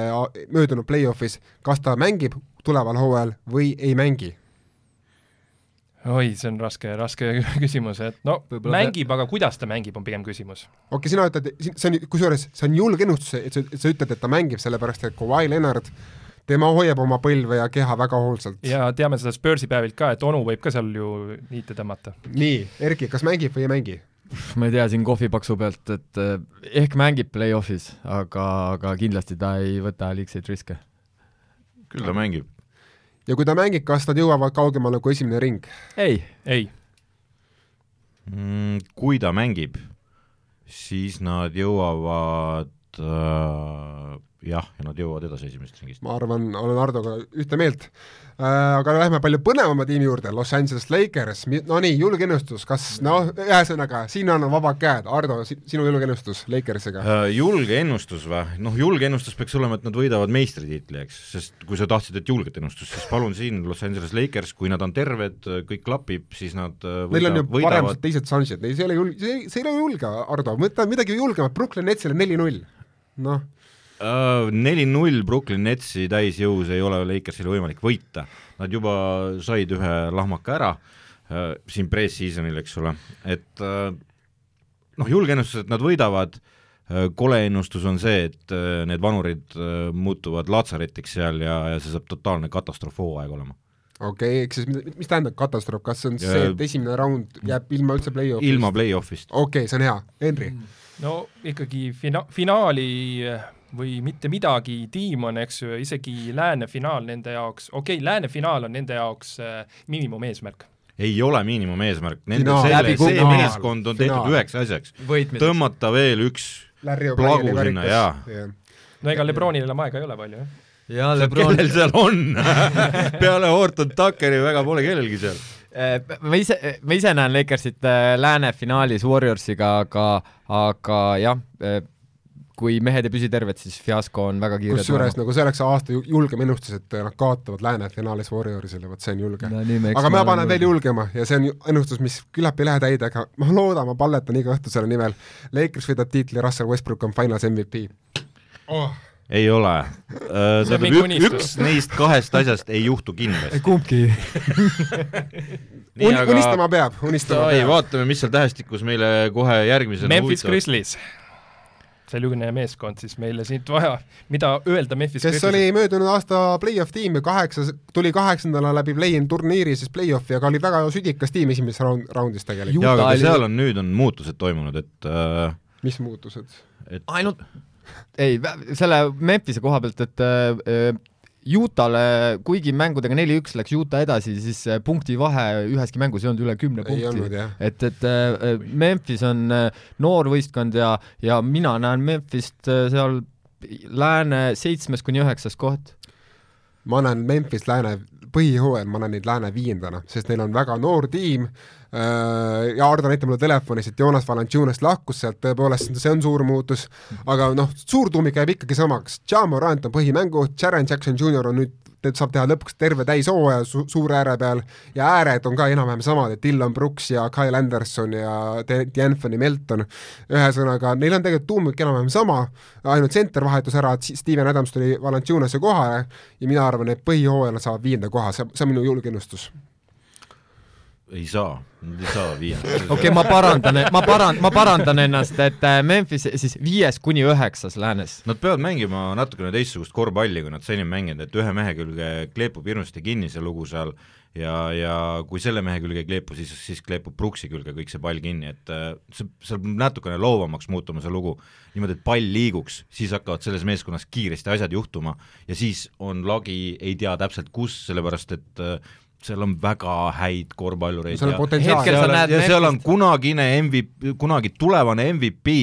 möödunud play-off'is , kas ta mängib tuleval hooajal või ei mängi ? oi , see on raske , raske küsimus , et no Võib-olla mängib , aga kuidas ta mängib , on pigem küsimus . okei , sina ütled , see on , kusjuures see on julge ennustus , et sa , et sa ütled , et ta mängib , sellepärast et Kawhi Leonard , tema hoiab oma põlve ja keha väga hoolsalt . ja teame seda Spursi päevilt ka , et onu võib ka seal ju niite tõmmata . nii , Erki , kas mängib või ei mängi ? ma ei tea siin kohvipaksu pealt , et äh, ehk mängib play-off'is , aga , aga kindlasti ta ei võta liigseid riske . küll ta mängib . ja kui ta mängib , kas nad jõuavad kaugemale kui esimene ring ? ei , ei , Mm, kui ta mängib , siis nad jõuavad äh, jah , ja nad jõuavad edasi esimesest ringist . ma arvan , olen Hardoga ühte meelt . aga lähme palju põnevama tiimi juurde , Los Angeles Lakers , no nii , julgeennustus , kas noh , ühesõnaga , siin on vabad käed , Hardo , sinu julgeennustus Lakersiga . Äh, julge ennustus või ? noh , julge ennustus peaks olema , et nad võidavad meistritiitli , eks , sest kui sa tahtsid , et julget ennustust , siis palun siin Los Angeles Lakers , kui nad on terved , kõik klapib , siis nad äh, Neil on võida- ju paremad teised šansid , neil see ei ole jul- , see ei , see ei ole julge , Hardo , võta midagi julgemat , Brooklyn Netsile neli-null . noh , Äh, neli-null Brooklyn Netsi täisjõus ei ole Lakersil võimalik võita , nad juba said ühe lahmaka ära äh, siin pre-seasonil , eks ole , et äh, noh , julge ennustus , et nad võidavad , kole ennustus on see , et äh, need vanurid äh, muutuvad laatsaretiks seal ja , ja see saab totaalne katastroof hooaeg olema . okei okay, , ehk siis mis, mis tähendab katastroof , kas see on Ja- see , et esimene round jääb ilma üldse play-off'ist ? ilma play-off'ist . okei okay, , see on hea , Henri , no ikkagi fina- , finaali eh, või mitte midagi tiim on , eks ju , isegi lääne finaal nende jaoks , okei okay, , lääne finaal on nende jaoks äh, miinimumeesmärk . ei ole miinimumeesmärk , nende Finaal. selle Läbi , see kukkumine. meeskond on tehtud Finaal. üheks asjaks , võitmine . tõmmata veel üks Larry Plagu O'Brieni sinna, jaa. karikas . no ega Lebronil enam aega ei ole palju , jah . jaa , Lebron , kellel seal on ? peale Horton Tuckeri väga pole kellelgi seal . Äh, ma ise , ma ise näen Lakersit eh, lääne finaalis Warriorsiga , aga , aga jah , kui mehed ei püsi terved , siis fiasko on väga kiire kusjuures nagu see oleks aasta ju- julgem ennustus , et nad kaotavad lääne finaalis Warriorisele , vot see on julge No nii me- eks nagu- aga ma ma olen panen veel julge. julgema ja see on ju- ennustus , mis küllap ei lähe täide , aga ma loodan , ma palletan iga õhtu selle nimel . Lakers võidab tiitli , Russell Westbrook on finals MVP oh. . ei ole . See on tähendab , mingi üks, unistus. üks neist kahest asjast ei juhtu kindlasti . kumbki Un, aga... unistama peab , unistama Davai , peab . vaatame , mis seal tähestikus meile kohe järgmisena Memphis . Grizzlies . selline meeskond siis meile siit vaja , mida öelda Memphis kes Grizzlies- oli möödunud aasta play-off tiim ja kaheksas , tuli kaheksandana läbi play-in turniiri siis play-off'i , aga oli väga südikas tiim esimeses raund , raundis tegelikult . jaa , aga Utah ka oli- seal on nüüd on muutused toimunud , et äh, mis muutused ? et ainult ei , selle Memphise koha pealt , et äh, Utah'le , kuigi mängudega neli-üks läks Utah edasi , siis äh, punktivahe üheski mängus ei olnud üle kümne ei olnud punkti . jah . et , et äh, Memphis on äh, noor võistkond ja , ja mina näen Memphist äh, seal lääne seitsmes kuni üheksas koht . ma näen Memphis lääne põhihooajal , ma näen neid lääne viiendana , sest neil on väga noor tiim äh, ja Ardo näitab mulle telefonis , et Jonas Valanciunas lahkus sealt , tõepoolest see on suur muutus , aga noh , suur tuumik jääb ikkagi samaks , Jamorant on põhimängu , Jaren Jackson Jr on nüüd nüüd saab teha lõpuks terve täishooaja su suure ääre peal ja ääred on ka enam-vähem samad , et Dylan Brooks ja Kyle Anderson ja De- D'Anthony Melton , ühesõnaga neil on tegelikult tuumik enam-vähem sama , ainult center vahetus ära , et Si- Steven Adams tuli Valanciunase kohale ja mina arvan , et põhijooajal saab viienda koha , see , see on minu julge ennustus . ei saa , nad ei saa viiendaks . okei okay, , ma parandan , ma paran- , ma parandan ennast , et äh, Memphis siis viies kuni üheksas läänes . Nad peavad mängima natukene teistsugust korvpalli , kui nad seni on mänginud , et ühe mehe külge kleepub hirmsasti kinni see lugu seal ja , ja kui selle mehe külge ei kleepu , siis , siis kleepub Brooksi külge kõik see pall kinni , et äh, see , see peab natukene loovamaks muutuma , see lugu , niimoodi , et pall liiguks , siis hakkavad selles meeskonnas kiiresti asjad juhtuma ja siis on lagi , ei tea täpselt kus , sellepärast et äh, seal on väga häid korvpallureid seal ja- on potentsiaali hetkel seal sa on, näed ja seal on Memphist- kunagine MVP , kunagi tulevane MVP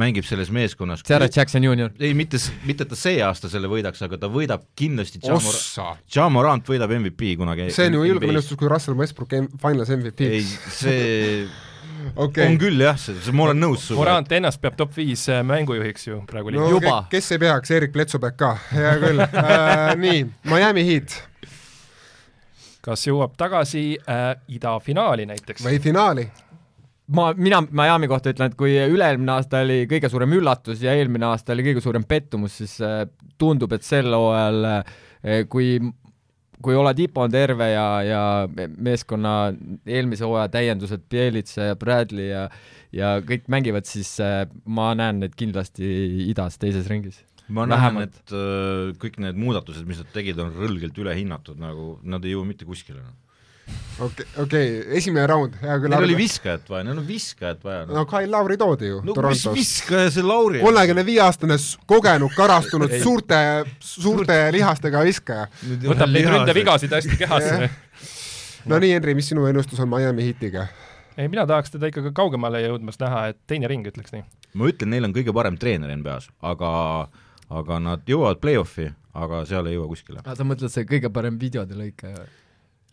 mängib selles meeskonnas . Sarah Jackson Junior . ei , mitte , mitte et ta see aasta selle võidaks , aga ta võidab kindlasti Jamor- , ossa , Jamorant võidab MVP kunagi . see on ju julge . ennustus , kui Russell Westbrook em- finals MVP ei , see okay. on okei . küll jah , see , see , ma olen nõus sinuga . Morant ennast peab top viis äh, mängujuhiks ju praegu no no. . Juba. ke- kes ei peaks , Erik Pletsupääk ka , hea küll äh, . nii , Miami Heat kas jõuab tagasi äh, idafinaali näiteks ? või finaali , ma , mina Miami kohta ütlen , et kui üle-eelmine aasta oli kõige suurem üllatus ja eelmine aasta oli kõige suurem pettumus , siis äh, tundub , et sel hooajal äh, kui , kui Oladipo on terve ja , ja me- meeskonna eelmise hooaja täiendused , Pielitsa ja Bradley ja ja kõik mängivad , siis äh, ma näen neid kindlasti idas teises ringis . ma näen , vähemalt. et öö, kõik need muudatused , mis nad tegid , on rõlgelt ülehinnatud , nagu nad ei jõua mitte kuskile . okei , okei , esimene raund , hea küll . Neil oli viskajat vaja , neil on viskajat vaja . no Kyle Lauri toodi ju no no, mis Torontos . viskaja see Lauri on ? kolmekümne viie aastane kogenud , karastunud , suurte , suurte lihastega viskaja . võtab neid ründevigasid hästi kehasse . no nii , Henri , mis sinu ennustus on Miami Heatiga ? ei , mina tahaks teda ikkagi kaugemale jõudmas näha , et teine ring , ütleks nii . ma ütlen , neil on kõige parem treener NBA-s , aga , aga nad jõuavad play-off'i , aga seal ei jõua kuskile . sa mõtled see kõige parem videode lõike ?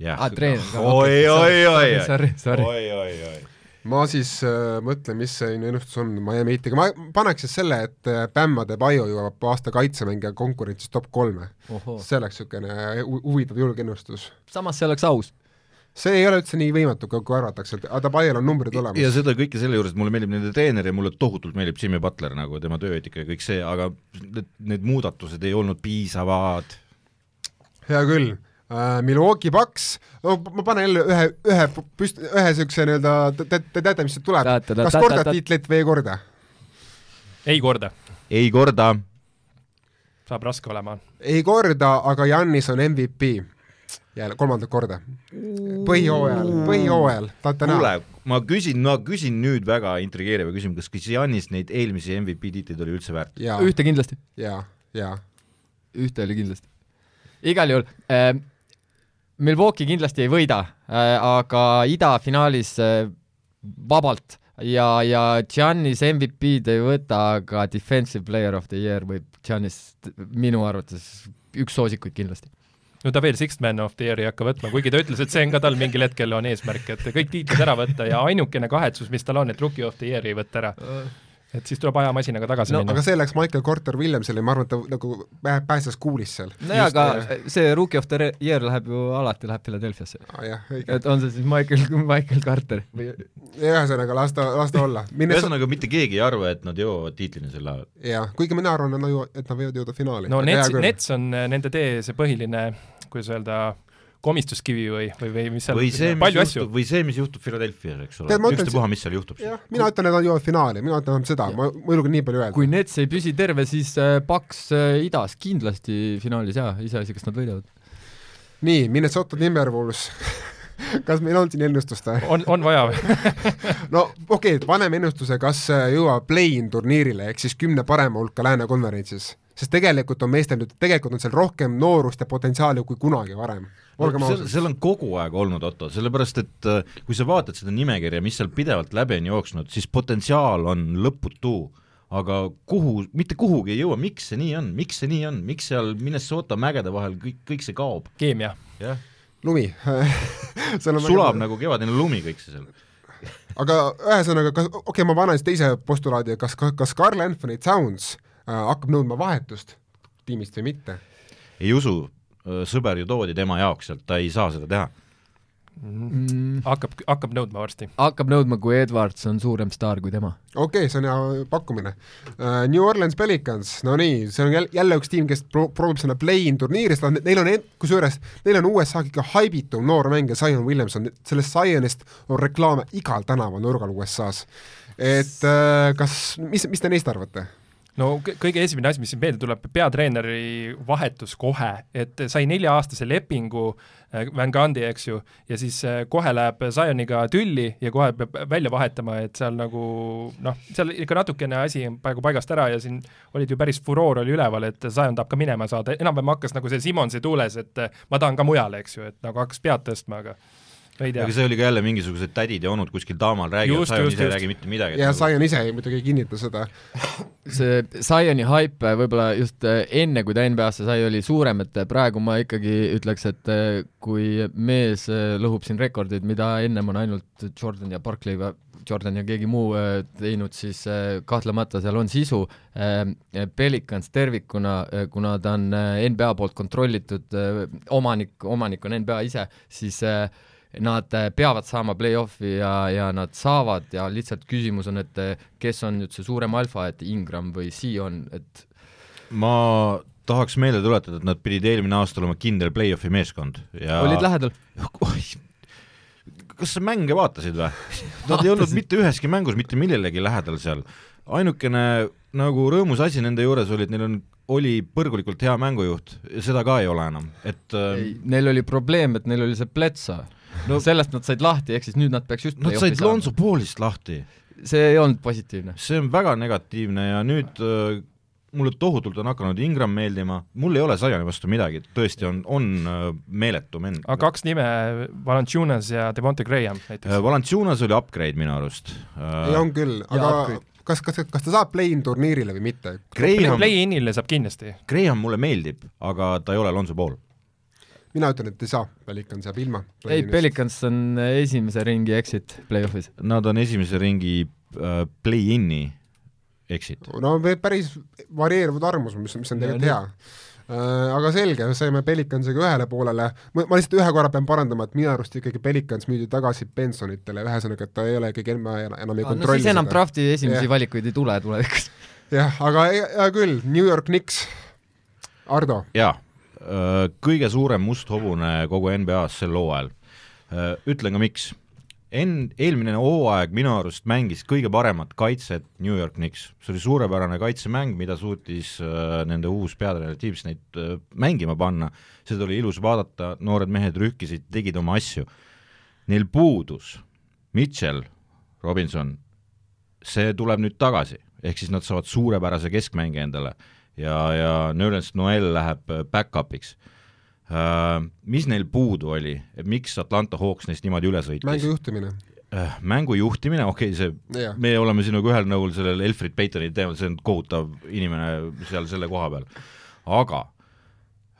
jah Ah, treener ka, oi , okei, oi , oi , oi , Sorry , sorry . oi , oi , oi . ma siis äh, mõtlen , mis see minu ennustus on Miami Heatiga , ma paneks siis selle , et äh, Bamma de Bayo jõuab aasta kaitsemängija konkurentsis top kolme . Oh. see oleks niisugune äh, hu- huvitav julge ennustus . samas see oleks aus . see ei ole üldse nii võimatu , kui arvatakse , et Adabayel on numbrid ja olemas . seda kõike selle juures , et mulle meeldib nende treener ja mulle tohutult meeldib Jimmy Butler nagu tema tööeetika ja kõik see , aga need, need muudatused ei olnud piisavad . hea küll äh, . Milwaukee Bucks , no ma panen jälle ühe , ühe püst- , ühe niisuguse nii-öelda , te , te teate , mis sealt tuleb , Teate, teate, kas kordad teate. tiitlit või ei korda ? ei korda , ei korda , saab raske olema . ei korda , aga Jannis on MVP . jälle kolmandat korda . põhijooajal , põhijooajal , vaata kuule näha ., ma küsin , ma küsin nüüd väga intrigeeriva küsimuse , kas , kas Janis neid eelmisi MVP tiitleid oli üldse väärt ? ja , ühte kindlasti . ja , ja ühte oli kindlasti . igal juhul äh, , Milwaukee kindlasti ei võida äh, , aga idafinaalis äh, vabalt ja , ja Giannis MVP-d ei võta , aga Defensive Player of the Year võib Giannis minu arvates üks soosikuid kindlasti . no ta veel Sixth Man of the Year'i ei hakka võtma , kuigi ta ütles , et see on ka tal mingil hetkel on eesmärk , et kõik tiitlid ära võtta ja ainukene kahetsus , mis tal on , et Rookie of the Year'i ei võta ära . et siis tuleb ajamasinaga tagasi no, aga minna . see läks Michael Carter Williamsile , ma arvan , et ta nagu pää- pääses kuulis seal . nojah , aga see Rookie of the Re- Year läheb ju alati , läheb Philadelphia'sse . Ah, jah , õige . et on see siis Michael , Michael Carter või ühesõnaga , las ta , las ta olla . ühesõnaga , mitte keegi ei arva , et nad jõuavad tiitlini sel ajal . jah , kuigi mina arvan , et nad jõuavad , et nad võivad jõuda finaali . no Nets , Nets on äh, nende tee see põhiline , kuidas öelda , komistuskivi või , või , või mis seal , või see , mis palju asju juhtub ,. või see , mis juhtub Philadelphia's , eks ole Tead, ma , ütlen ükstapuha , mis seal juhtub . jah , mina ütlen , et nad jõuavad finaali , mina ütlen seda , ma , ma julgen nii palju öelda . kui Nets ei püsi terve , siis äh, Paks äh, idas kindlasti finaalis jaa , iseasi , kas nad võidavad . nii , Minnesota Timberwolves . kas meil on siin ennustust või ? on , on vaja või ? no okei okay, , paneme ennustuse , kas äh, jõuab play-in turniirile ehk siis kümne parema hulka Lääne konverentsis , sest tegelikult on meestel nüüd , tegelikult on seal rohkem noorust ja potentsiaali kui kunagi varem . olgem seal , ausad . seal on kogu aeg olnud , Otto , sellepärast et äh, kui sa vaatad seda nimekirja , mis seal pidevalt läbi on jooksnud , siis potentsiaal on lõputu . aga kuhu , mitte kuhugi ei jõua , miks see nii on , miks see nii on , miks seal Minnesota mägede vahel kõik , kõik see kaob , keemia . jah , lumi sulab . nagu kevadine lumi kõik see seal . aga ühesõnaga , kas , okei okay, , ma panen siis teise postulaadi , kas , kas Carl Anthony Towns äh, hakkab nõudma vahetust tiimist või mitte ? ei usu , sõber ju toodi tema jaoks sealt , ta ei saa seda teha . Mm, hakkab , hakkab nõudma varsti . hakkab nõudma , kui Edwards on suurem staar kui tema . okei okay, , see on hea pakkumine . New Orleans Pelicans , no nii , see on jälle, jälle üks tiim , kes pro- , proovib sinna play-in turniiri , seda , neil on , kusjuures neil on USA kõige haibitum noor mängija , Zion Williamson , sellest Zionist on reklaame igal tänavanurgal USA-s . et äh, kas , mis , mis te neist arvate ? no kõ- kõige esimene asi , mis siin meelde tuleb , peatreeneri vahetus kohe , et sai nelja-aastase lepingu äh, Van Gandhi , eks ju , ja siis äh, kohe läheb Zioniga tülli ja kohe peab välja vahetama , et seal nagu noh , seal ikka natukene asi on praegu paigast ära ja siin olid ju päris furoor oli üleval , et Zion tahab ka minema saada , enam-vähem hakkas nagu see Simonsi tuules , et äh, ma tahan ka mujale , eks ju , et nagu hakkas pead tõstma , aga no ei tea aga . see oli ka jälle mingisugused tädid ja onud kuskil taamal räägivad , Just, Sion just, ise ei just. räägi mitte midagi . nagu- ja Zion ise ei muidugi ei kinnita seda . see Zioni haip äh, võib-olla just äh, enne , kui ta NBA-sse sai , oli suurem , et äh, praegu ma ikkagi ütleks , et äh, kui mees äh, lõhub siin rekordeid , mida ennem on ainult Jordan ja Barclay või Jordan ja keegi muu äh, teinud , siis äh, kahtlemata seal on sisu . Ähm, äh, Pelicans tervikuna , kuna ta on äh, NBA poolt kontrollitud äh, omanik , omanik on NBA ise , siis äh, nad äh, peavad saama play-off'i ja , ja nad saavad ja lihtsalt küsimus on , et äh, kes on nüüd see suurem alfa , et Ingram või Sion , et ma tahaks meelde tuletada , et nad pidid eelmine aasta olema kindel play-off'i meeskond ja olid lähedal . Oih. kas sa mänge vaatasid või ? Nad ei olnud mitte üheski mängus mitte millelegi lähedal seal . ainukene nagu rõõmus asi nende juures oli , et neil on , oli põrgulikult hea mängujuht , seda ka ei ole enam , et äh, Neil oli probleem , et neil oli see pletsa no, . No- sellest nad said lahti , ehk siis nüüd nad peaks just nad play-off'i said Lonzo . Poolist lahti , see ei olnud positiivne . see on väga negatiivne ja nüüd äh, mulle tohutult on hakanud Ingram meeldima , mul ei ole Saiani vastu midagi , tõesti on , on äh, meeletu vend . aga kaks nime , Valanciunas ja Devonte Graham näiteks . Äh, Valanciunas oli upgrade minu arust . Äh, ei , on küll , aga upgrade. kas , kas , kas ta saab play-in turniirile või mitte ? Graham , Play-in'ile saab kindlasti Graham mulle meeldib , aga ta ei ole Lonzo Pool . mina ütlen , et ei saa , Pelicans jääb ilma . ei , Pelicans on äh, esimese ringi exit play-off'is . Nad on esimese ringi äh, play-in'i exit . no ve- päris varieeruvad arvamused , mis , mis on Ja tegelikult nii. hea . aga selge , saime Pelicansiga ühele poolele , ma ma lihtsalt ühe korra pean parandama , et minu arust ikkagi Pelicans müüdi tagasi pensionitele , ühesõnaga , et ta ei ole ikkagi enam , enam ei no kontrolli siis enam seda . drafti esimesi Jah. yeah. valikuid ei tule tulevikus . jah , aga hea hea küll , New York Knicks , Ardo , jaa , kõige suurem must hobune kogu NBA-s sel hooajal . Ütlen ka miks . Enn , eelmine hooaeg minu arust mängis kõige paremat kaitset New York Knicks . see oli suurepärane kaitsemäng , mida suutis äh, nende uus peatreener Steve Sneit äh, mängima panna , seda oli ilus vaadata , noored mehed rühkisid , tegid oma asju . Neil puudus Mitchell , Robinson , see tuleb nüüd tagasi , ehk siis nad saavad suurepärase keskmänge endale ja , ja Nerlens Noel läheb äh, back-up'iks äh, . Mis neil puudu oli , miks Atlanta Hawks neist niimoodi üle sõitis ? mängujuhtimine . äh, mängu juhtimine , okei okay, , see , jah , me oleme sinuga ühel nõul sellel Elfrid Peitoni teemal , see on kohutav inimene seal selle koha peal , aga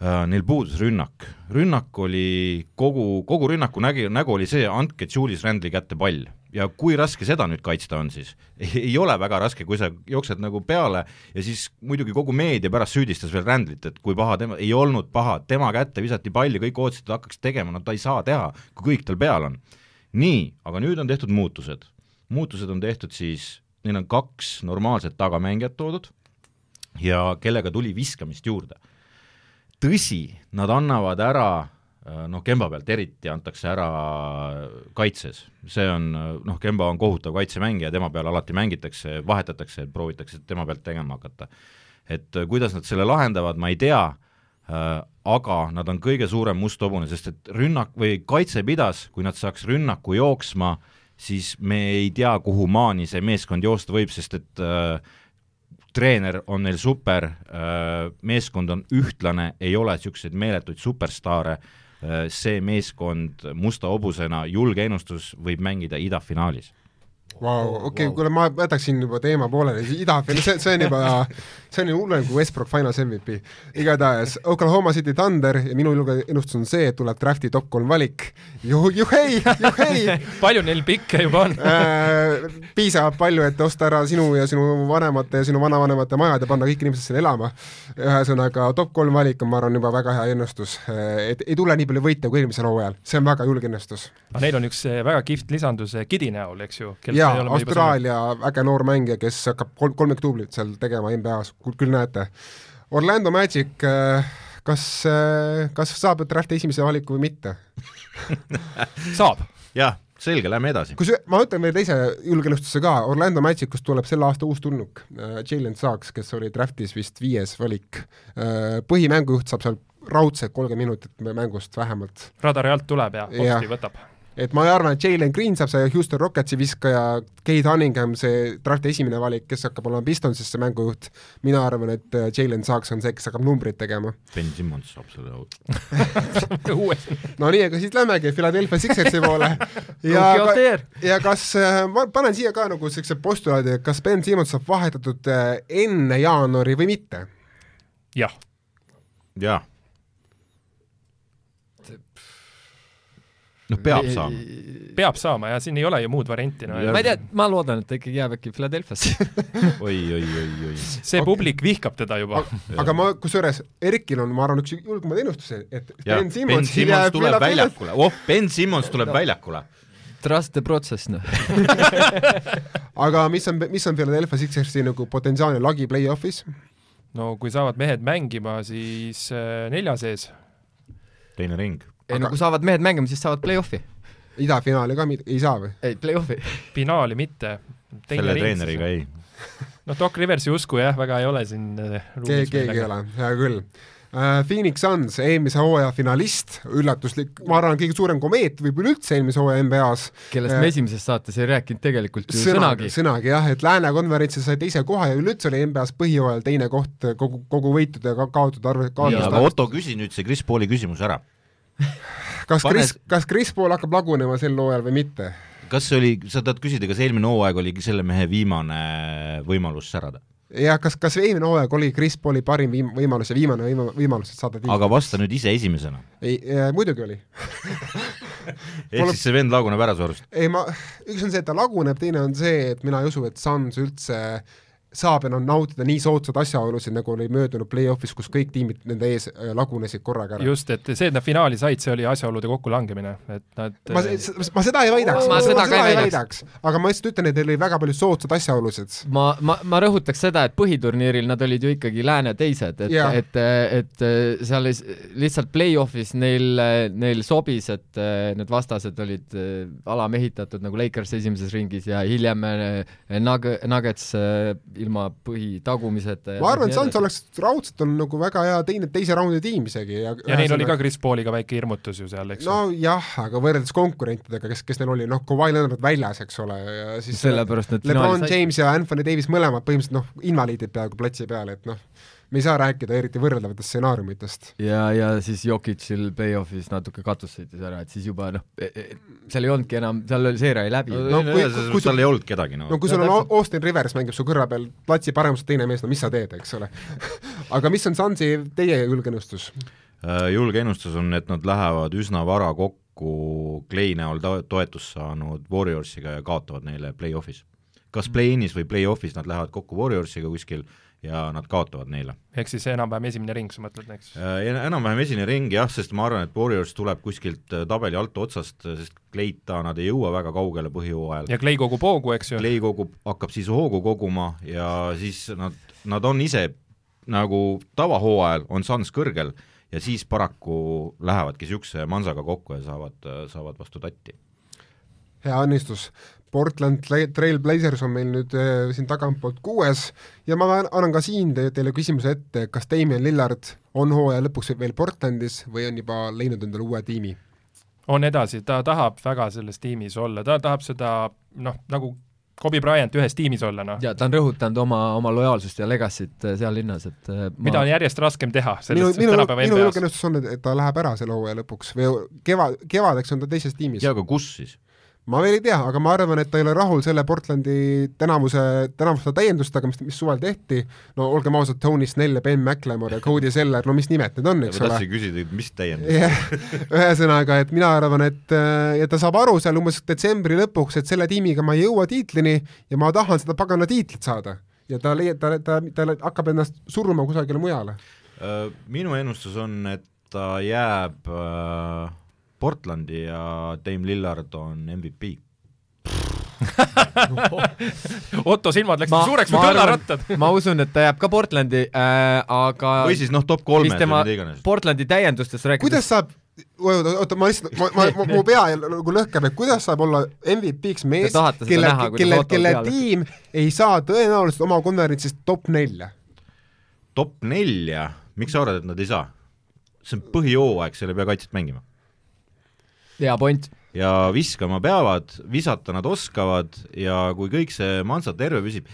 äh, neil puudus rünnak , rünnak oli kogu , kogu rünnaku nägi , nägu oli see , andke Julius Randli kätte pall ja kui raske seda nüüd kaitsta on siis ? ei ole väga raske , kui sa jooksed nagu peale ja siis muidugi kogu meedia pärast süüdistas veel Randlit , et kui paha tema , ei olnud paha , tema kätte visati pall ja kõik ootasid , et ta hakkaks tegema , no ta ei saa teha , kui kõik tal peal on . nii , aga nüüd on tehtud muutused . muutused on tehtud siis , neil on kaks normaalset tagamängijat toodud ja kellega tuli viskamist juurde . tõsi , nad annavad ära äh, noh , Kemba pealt eriti antakse ära kaitses , see on äh, noh , Kemba on kohutav kaitsemängija , tema peal alati mängitakse , vahetatakse , proovitakse tema pealt tegema hakata . et äh, kuidas nad selle lahendavad , ma ei tea äh, , aga nad on kõige suurem must hobune , sest et rünnak või kaitse pidas , kui nad saaks rünnaku jooksma , siis me ei tea , kuhu maani see meeskond joosta võib , sest et äh, treener on neil super , meeskond on ühtlane , ei ole niisuguseid meeletuid superstaare , see meeskond musta hobusena , julge ennustus , võib mängida idafinaalis . vau , okei , kuule , ma jätaksin juba teema pooleli , idafil- , see , see on juba , see on ju hullem kui Westbrook Finals MVP . igatahes Oklahoma City Thunder ja minu julge ennustus on see , et tuleb drafti top kolm valik ju, . juhei , juhei palju neil pikke juba on ? Äh, piisavalt palju , et osta ära sinu ja sinu vanemate ja sinu vanavanemate majad ja panna kõik inimesed sinna elama . ühesõnaga top kolm valik on , ma arvan , juba väga hea ennustus , et ei tule nii palju võite kui eelmisel hooajal , see on väga julge ennustus . aga neil on üks eh, väga kihvt lisandus eh, Gidi näol , eks ju . ja Austraalia äge noor mängija , kes hakkab kolm , kolmik duublit seal tegema NBA-s , küll näete . Orlando Magic , kas , kas saab drafti esimese valiku või mitte ? saab , jah , selge , lähme edasi . kusjuures ma ütlen veel teise julgeennustuse ka , Orlando Magicust tuleb selle aasta uus tulnuk , Jalen Saks , kes oli draftis vist viies valik . põhimängujuht saab seal raudselt kolmkümmend minutit mä- mängust vähemalt . radari alt tuleb ja Jah. hopsti võtab . et ma arvan , et Jalen Green saab see Houston Rocketsi viskaja , Kate Hunningham see drafti esimene valik , kes hakkab olema Pistonsisse mängujuht , mina arvan , et äh, Jalen Saks on see , kes hakkab numbreid tegema . Ben Simmons saab selle out . uuesti . no nii , aga siis lähmegi Philadelphia Sixersi poole ja ka, ja kas , ma panen siia ka nagu sellise postulaadi , et kas Ben Simmons saab vahetatud äh, enne jaanuari või mitte ? jah , jaa . noh , peab saama . peab saama ja siin ei ole ju muud varianti , no Jah. ma ei tea , ma loodan , et ta ikkagi jääb äkki Philadelphiasse . oi , oi , oi , oi . see publik vihkab teda juba . aga ma , kusjuures Erkil on , ma arvan , üks julgemaid ennustusi , et jah , Ben Ben Simmons Simmons jääb tuleb Philadelphia- väljakule , oh , Ben Simmons tuleb väljakule . Trust the process , noh . aga mis on , mis on Philadelphia Sixersi nagu potentsiaalne lagi play-off'is ? no kui saavad mehed mängima , siis eh, nelja sees . teine ring . ei no Aga- kui saavad mehed mängima , siis saavad play-off'i . idafinaali ka mid- ei saa või ? ei , play-off'i . finaali mitte . selle treeneriga ei . noh , Doc Riversi usku jah , väga ei ole siin eh, keegi , ruumis keegi ei meil, ole , hea küll . Phoenix Suns , eelmise hooaja finalist , üllatuslik , ma arvan , kõige suurem komeet võib-olla üldse eelmise hooaja NBA-s . kellest me esimeses saates ei rääkinud tegelikult ju Äh, sõnagi, sõnagi . sõnagi jah , et Lääne konverentsil sai teise koha ja üleüldse oli NBA-s põhjooajal teine koht äh, kogu , kogu võitude ja ka- kaotud arv , kaotuste aga arv . Otto , küsi nüüd see Chris Pauli küsimus ära . kas pane- Kris , kas Kris Paul hakkab lagunema sel hooajal või mitte ? kas see oli , sa tahad küsida , kas eelmine hooaeg oli selle mehe viimane võimalus särada ? jah , kas , kas eelmine hooaeg oli Kris Pauli parim viim- , võimalus ja viimane võima- võimalus , et saada tiim ? aga vasta nüüd ise esimesena . ei , muidugi oli . ehk siis see vend laguneb ära su arust . ei ma , üks on see , et ta laguneb , teine on see , et mina ei usu , et Suns üldse saab enam nautida nii soodsaid asjaolusid , nagu oli möödunud play-off'is , kus kõik tiimid nende ees äh, lagunesid korraga ära . just , et see , et nad finaali said , see oli asjaolude kokkulangemine , et nad eh, ma , ma seda ei väidaks , ma Ma seda seda, ka seda ei ei väidaks , aga ma lihtsalt ütlen , et neil oli väga palju soodsaid asjaolusid . ma , ma , ma rõhutaks seda , et põhiturniiril nad olid ju ikkagi lääne teised , et Jaa. yeah. , et , et eh, seal is- lihtsalt play-off'is neil , neil sobis , et eh, need vastased olid eh, alamehitatud nagu Lakers esimeses ringis ja hiljem eh, Nug- , Nuggets eh, ilma põhitagumiseta . ma arvan , et Suns oleks raudselt on nagu väga hea teine , teise raundi tiim isegi ja ja neil oli ka Chris Pauliga väike hirmutus ju seal , eks ju no, . nojah , aga võrreldes konkurentidega , kes , kes neil oli , noh , Kawhi Leonard väljas , eks ole , ja siis sellepärast nad LeBron finaalis said- James ja Anthony Davis mõlemad põhimõtteliselt noh , invaliidid peaaegu platsi peal , et noh , me ei saa rääkida eriti võrreldavatest stsenaariumitest . ja , ja siis Jokicil play-off'is natuke katus sõitis ära , et siis juba noh , seal ei olnudki enam , seal oli seeria oli läbi . no no kui- ühesõnaga kui no, , sul- tal ei olnud kedagi , no noh . kui No sul on täpselt. Au- Austin Rivers mängib su kõrva peal platsi paremuselt teine mees , no mis sa teed , eks ole . aga mis on Sunsi teie julgenõustus ? Äh, julge ennustus on , et nad lähevad üsna vara kokku Clay näol to- toetust saanud Warriorsiga ja kaotavad neile play-off'is . kas play-in'is või play-off'is nad lähevad kokku Warriorsiga kuskil ja nad kaotavad neile . ehk siis enam-vähem esimene ring , sa mõtled , eks ? Äh, Enam-vähem esimene ring jah , sest ma arvan , et Warriors tuleb kuskilt äh, tabeli altotsast , sest Clayta nad ei jõua väga kaugele põhjooajal . ja Clay kogub hoogu , eks ju . Clay kogub , hakkab siis hoogu koguma ja siis nad , nad on ise nagu tavahooajal on Suns kõrgel ja siis paraku lähevadki niisuguse mansaga kokku ja saavad , saavad vastu tatti . hea õnnistus . Portland Tra- Trail Blazers on meil nüüd äh, siin tagantpoolt kuues ja ma an- annan ka siin te- teile küsimuse ette , kas Damien Lillard on hooaja lõpuks veel Portlandis või on juba leidnud endale uue tiimi ? on edasi , ta tahab väga selles tiimis olla , ta tahab seda noh , nagu Kobe Bryant ühes tiimis olla , noh . ja ta on rõhutanud oma , oma lojaalsust ja legacy't äh, seal linnas , et äh, ma- mida on järjest raskem teha minu , selles minu , tänapäeva minu NBA-s . julgenõustus on , et ta läheb ära selle hooaja lõpuks või keva , kevadeks on ta teises tiimis ja . aga kus siis ? ma veel ei tea , aga ma arvan , et ta ei ole rahul selle Portlandi tänavuse , tänavuste täiendustega , mis , mis suvel tehti , no olgem ausad , Tony Snell ja Ben McLemore ja Cody Seller , no mis nimed need on , ma eks ole Eh. tahtsin . küsida , et mis täiendus ? jah , ühesõnaga , et mina arvan , et äh, ja ta saab aru seal umbes detsembri lõpuks , et selle tiimiga ma ei jõua tiitlini ja ma tahan seda pagana tiitlit saada . ja ta leiab , ta , ta , ta hakkab ennast suruma kusagile mujale . Äh, minu ennustus on , et ta jääb äh, Portlandi ja Dame Lillard on MVP . Otto silmad läksid ma- suureks ma kui arvan- kõllarattad . ma usun , et ta jääb ka Portlandi äh, , aga või siis noh , top kolmes mis või tema mida iganes . Portlandi täiendustest rääkides kuidas saab , oota , oota , ma lihtsalt , ma , ma , mu pea jälle nagu lõhkeb , et kuidas saab olla MVP-ks mees Te tahate , seda kelle näha, , kuidas kelle , Otto kelle peale- tiim ei saa tõenäoliselt oma konverentsis top nelja ? top nelja , miks sa arvad , et nad ei saa ? see on põhijooaeg , seal ei pea kaitset mängima . hea point , ja viskama peavad , visata nad oskavad ja kui kõik see mansa terve püsib ,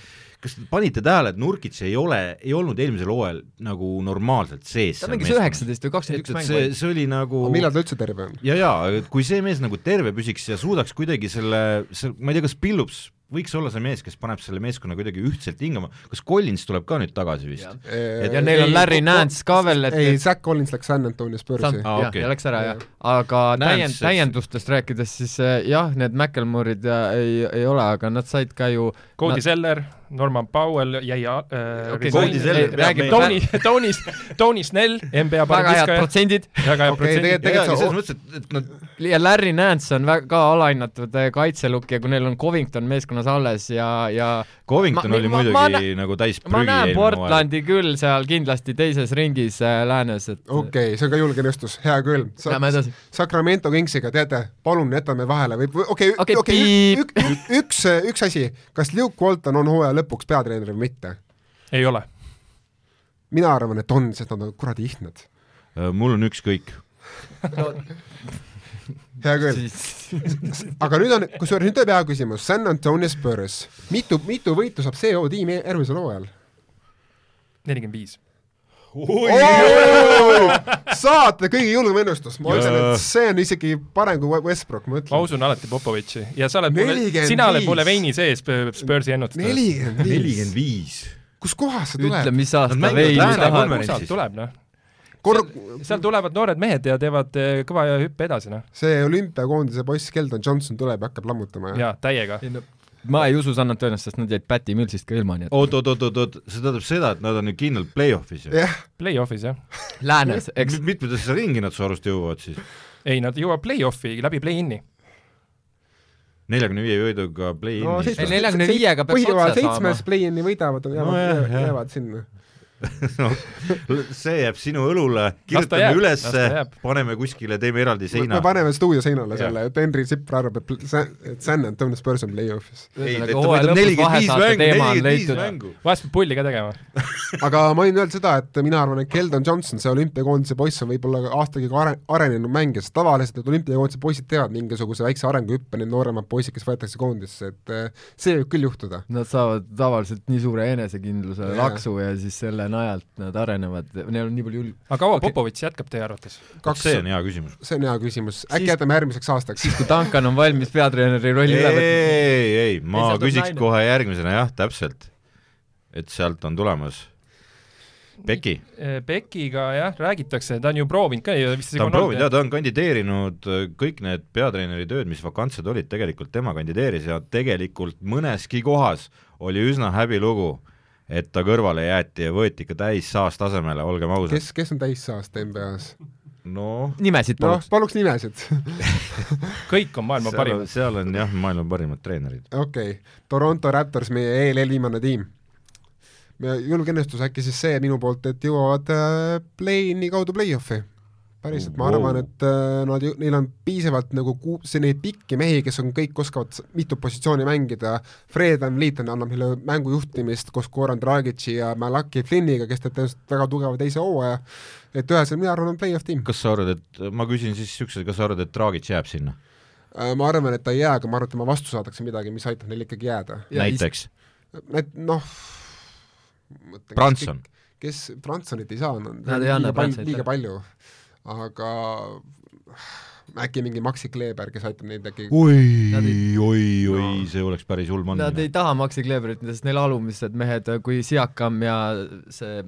kas te panite tähele , et Nurkits ei ole , ei olnud eelmisel hooajal nagu normaalselt sees ta mängis . üheksateist või et , kakskümmend et üks see mängu ,. see oli nagu aga millal ta üldse terve on ? ja , ja et kui see mees nagu terve püsiks ja suudaks kuidagi selle , see , ma ei tea , kas Pillups võiks olla see mees , kes paneb selle meeskonna kuidagi ühtselt hingama , kas Collins tuleb ka nüüd tagasi vist ? Et- ja neil on ei, Larry Nance ka veel , et ei , Zack Collins läks San Antonios börsi Sam- . Aa, jah , okei. ja läks ära jah Jah. , aga Näen, täiend- , see- täiendustest rääkides siis äh, jah , need McElmurid ja ei , ei ole , aga nad said ka ju Cody Nad- Seller , Norman Powell jäi äh, Okei, Cody resign- Zeller ei, peab räägib meile- Tony , Tony , Tony Snell , NBA väga head paremviskaja , protsendid väga hea Okei, protsent . ja , ja Tegelikult see- selles mõttes , et , et nad ja Larry Nance on väga alahinnatud äh, kaitselukk ja kui neil on Covington meeskonnas alles ja , ja Covington Ma- oli ma- ma muidugi nagu täis ma prügi näen eelmine hooaeg . Portlandi küll seal kindlasti teises ringis äh, läänes , et okei okay, , see on ka julge nõustus , hea küll . Lähme edasi. Sacramento Kingsiga , teate , palun jätame vahele või , või okei Okei, okay, , okei piip. , üks , üks asi , kas Luke Walton on hooaja lõpuks peatreener või mitte ? ei ole . mina arvan , et on , sest nad on kuradi ihnad . Äh, mul on ükskõik , hea küll , siis aga nüüd on , kusjuures nüüd tuleb hea küsimus , San Antonio Spurs , mitu , mitu võitu saab CO tiim järgmisel hooajal ? nelikümmend viis . saate kõige julgem ennustus , ma ütlen , et see on isegi parem kui Westbrook , ma ma ütlen . usun alati Popovitši ja sa oled mulle , 45. sina oled mulle veini sees Sp- Spursi ennustuses . nelikümmend viis nelikümmend , viis kuskohast see ütle , tuleb ? mis aasta mängivad veini lääne tahad . konverentsis. sealt tuleb noh , korr- , seal tulevad noored mehed ja teevad eh, kõva hüppe edasi noh , see olümpiakoondise poiss Keldon Johnson tuleb ja hakkab lammutama ja ja täiega . ma ei usu San Antoniast , sest nad jäid Päti Millsist ka ilma , nii Oh. et oot , oot , oot , oot , oot , see tähendab seda , et nad on ju kindlalt play-off'is ju . jah , Play-off'is jah , läänes , eks mitmedesse ringi nad su arust jõuavad siis ? ei nad jõuavad play-off'i läbi play-in'i , neljakümne viie võiduga play-in'i no no, . Ei, seitsmes- neljakümne viiega peaks põhiva- otsa saama. seitsmes play-in'i võidavad , jah, jäävad , jah. jäävad sinna . No, see jääb sinu õlule , Las ta kirjutame jääb, las ta ülesse jääb. , paneme kuskile , teeme eraldi me seina . paneme stuudio seinale Jah. selle , et Henri Sipra arvab , et pl- San- et San Antonio Spurs on play-off'is . ei , Ühesõnaga, ta nagu hooaja võtab lõpus nelikümmend viis vahesaate mängu , teema on nelikümmend viis leitud. mängu . vahest peab pulli ka tegema . aga ma võin öelda seda , et mina arvan , et Keldon Johnson , see olümpiakoondise poiss on võib-olla ka aastaga ka are- , arenenud mängija , sest tavaliselt need olümpiakoondise poisid teevad mingisuguse väikse arenguhüppe , need nooremad poisid , kes võetakse koondisse , et eh, see võib küll juhtuda . Nad saavad tavaliselt nii suure enesekindluse Jaa. laksu ja siis selle najalt nad arenevad , neil on nii palju ül- , aga kaua Okei. Popovitš jätkab teie arvates ? kaks , see on hea küsimus . see on hea küsimus , äkki Siis- jätame järgmiseks aastaks ? kui Duncan on valmis peatreeneri ei , rolli üle võtma . ei , ei , ma sealt on küsiks naine. kohe järgmisena , jah , täpselt . et sealt on tulemas Beki . Bekiga Eh, jah , räägitakse , ta on ju proovinud ka ju vist ta on proovinud ja ta on kandideerinud , kõik need peatreeneri tööd , mis vakantsed olid , tegelikult tema kandideeris ja tegelikult mõneski kohas oli üsna häbilugu , et ta kõrvale jäeti ja võeti ikka täis saastasemele , olgem ausad . kes , kes on täissaasta NBA-s ? noh , nimesid noh paluks , no. . paluks nimesid . kõik on maailma seal, parimad . seal on jah , maailma parimad treenerid . okei okay. , Toronto Raptors , meie ELL viimane tiim . julge õnnestus äkki siis see minu poolt , et jõuavad äh, play-in'i kaudu play-off'i . päriselt , ma Wow. arvan , et äh, nad , neil on piisavalt nagu ku- , see neid pikki mehi , kes on kõik , oskavad s- mitu positsiooni mängida , Fred Van Lieten annab neile mängu juhtimist koos Goran Dragici ja Malaki Flynniga , kes teeb tõenäoliselt väga tugeva teise hooaja , et ühesõnaga mina arvan , on play-off tiim . kas sa arvad , et , ma küsin siis niisuguse , kas sa arvad , et Dragic jääb sinna Äh, ma arvan , et ta ei jää , aga ma arvan , et tema vastu saadakse midagi , mis aitab neil ikkagi jääda . ja näiteks ? et noh , Branson . kes Bransonit ei saa , Nad ei anna liiga palju , Bransonit liiga ära. palju , aga äkki mingi Maxi Kleeber , kes aitab neid äkki uh, , oi Nad , oi , oi , see oleks päris hull mann . Nad ei taha Maxi Kleberit , sest neil alumised mehed , kui Siakam ja see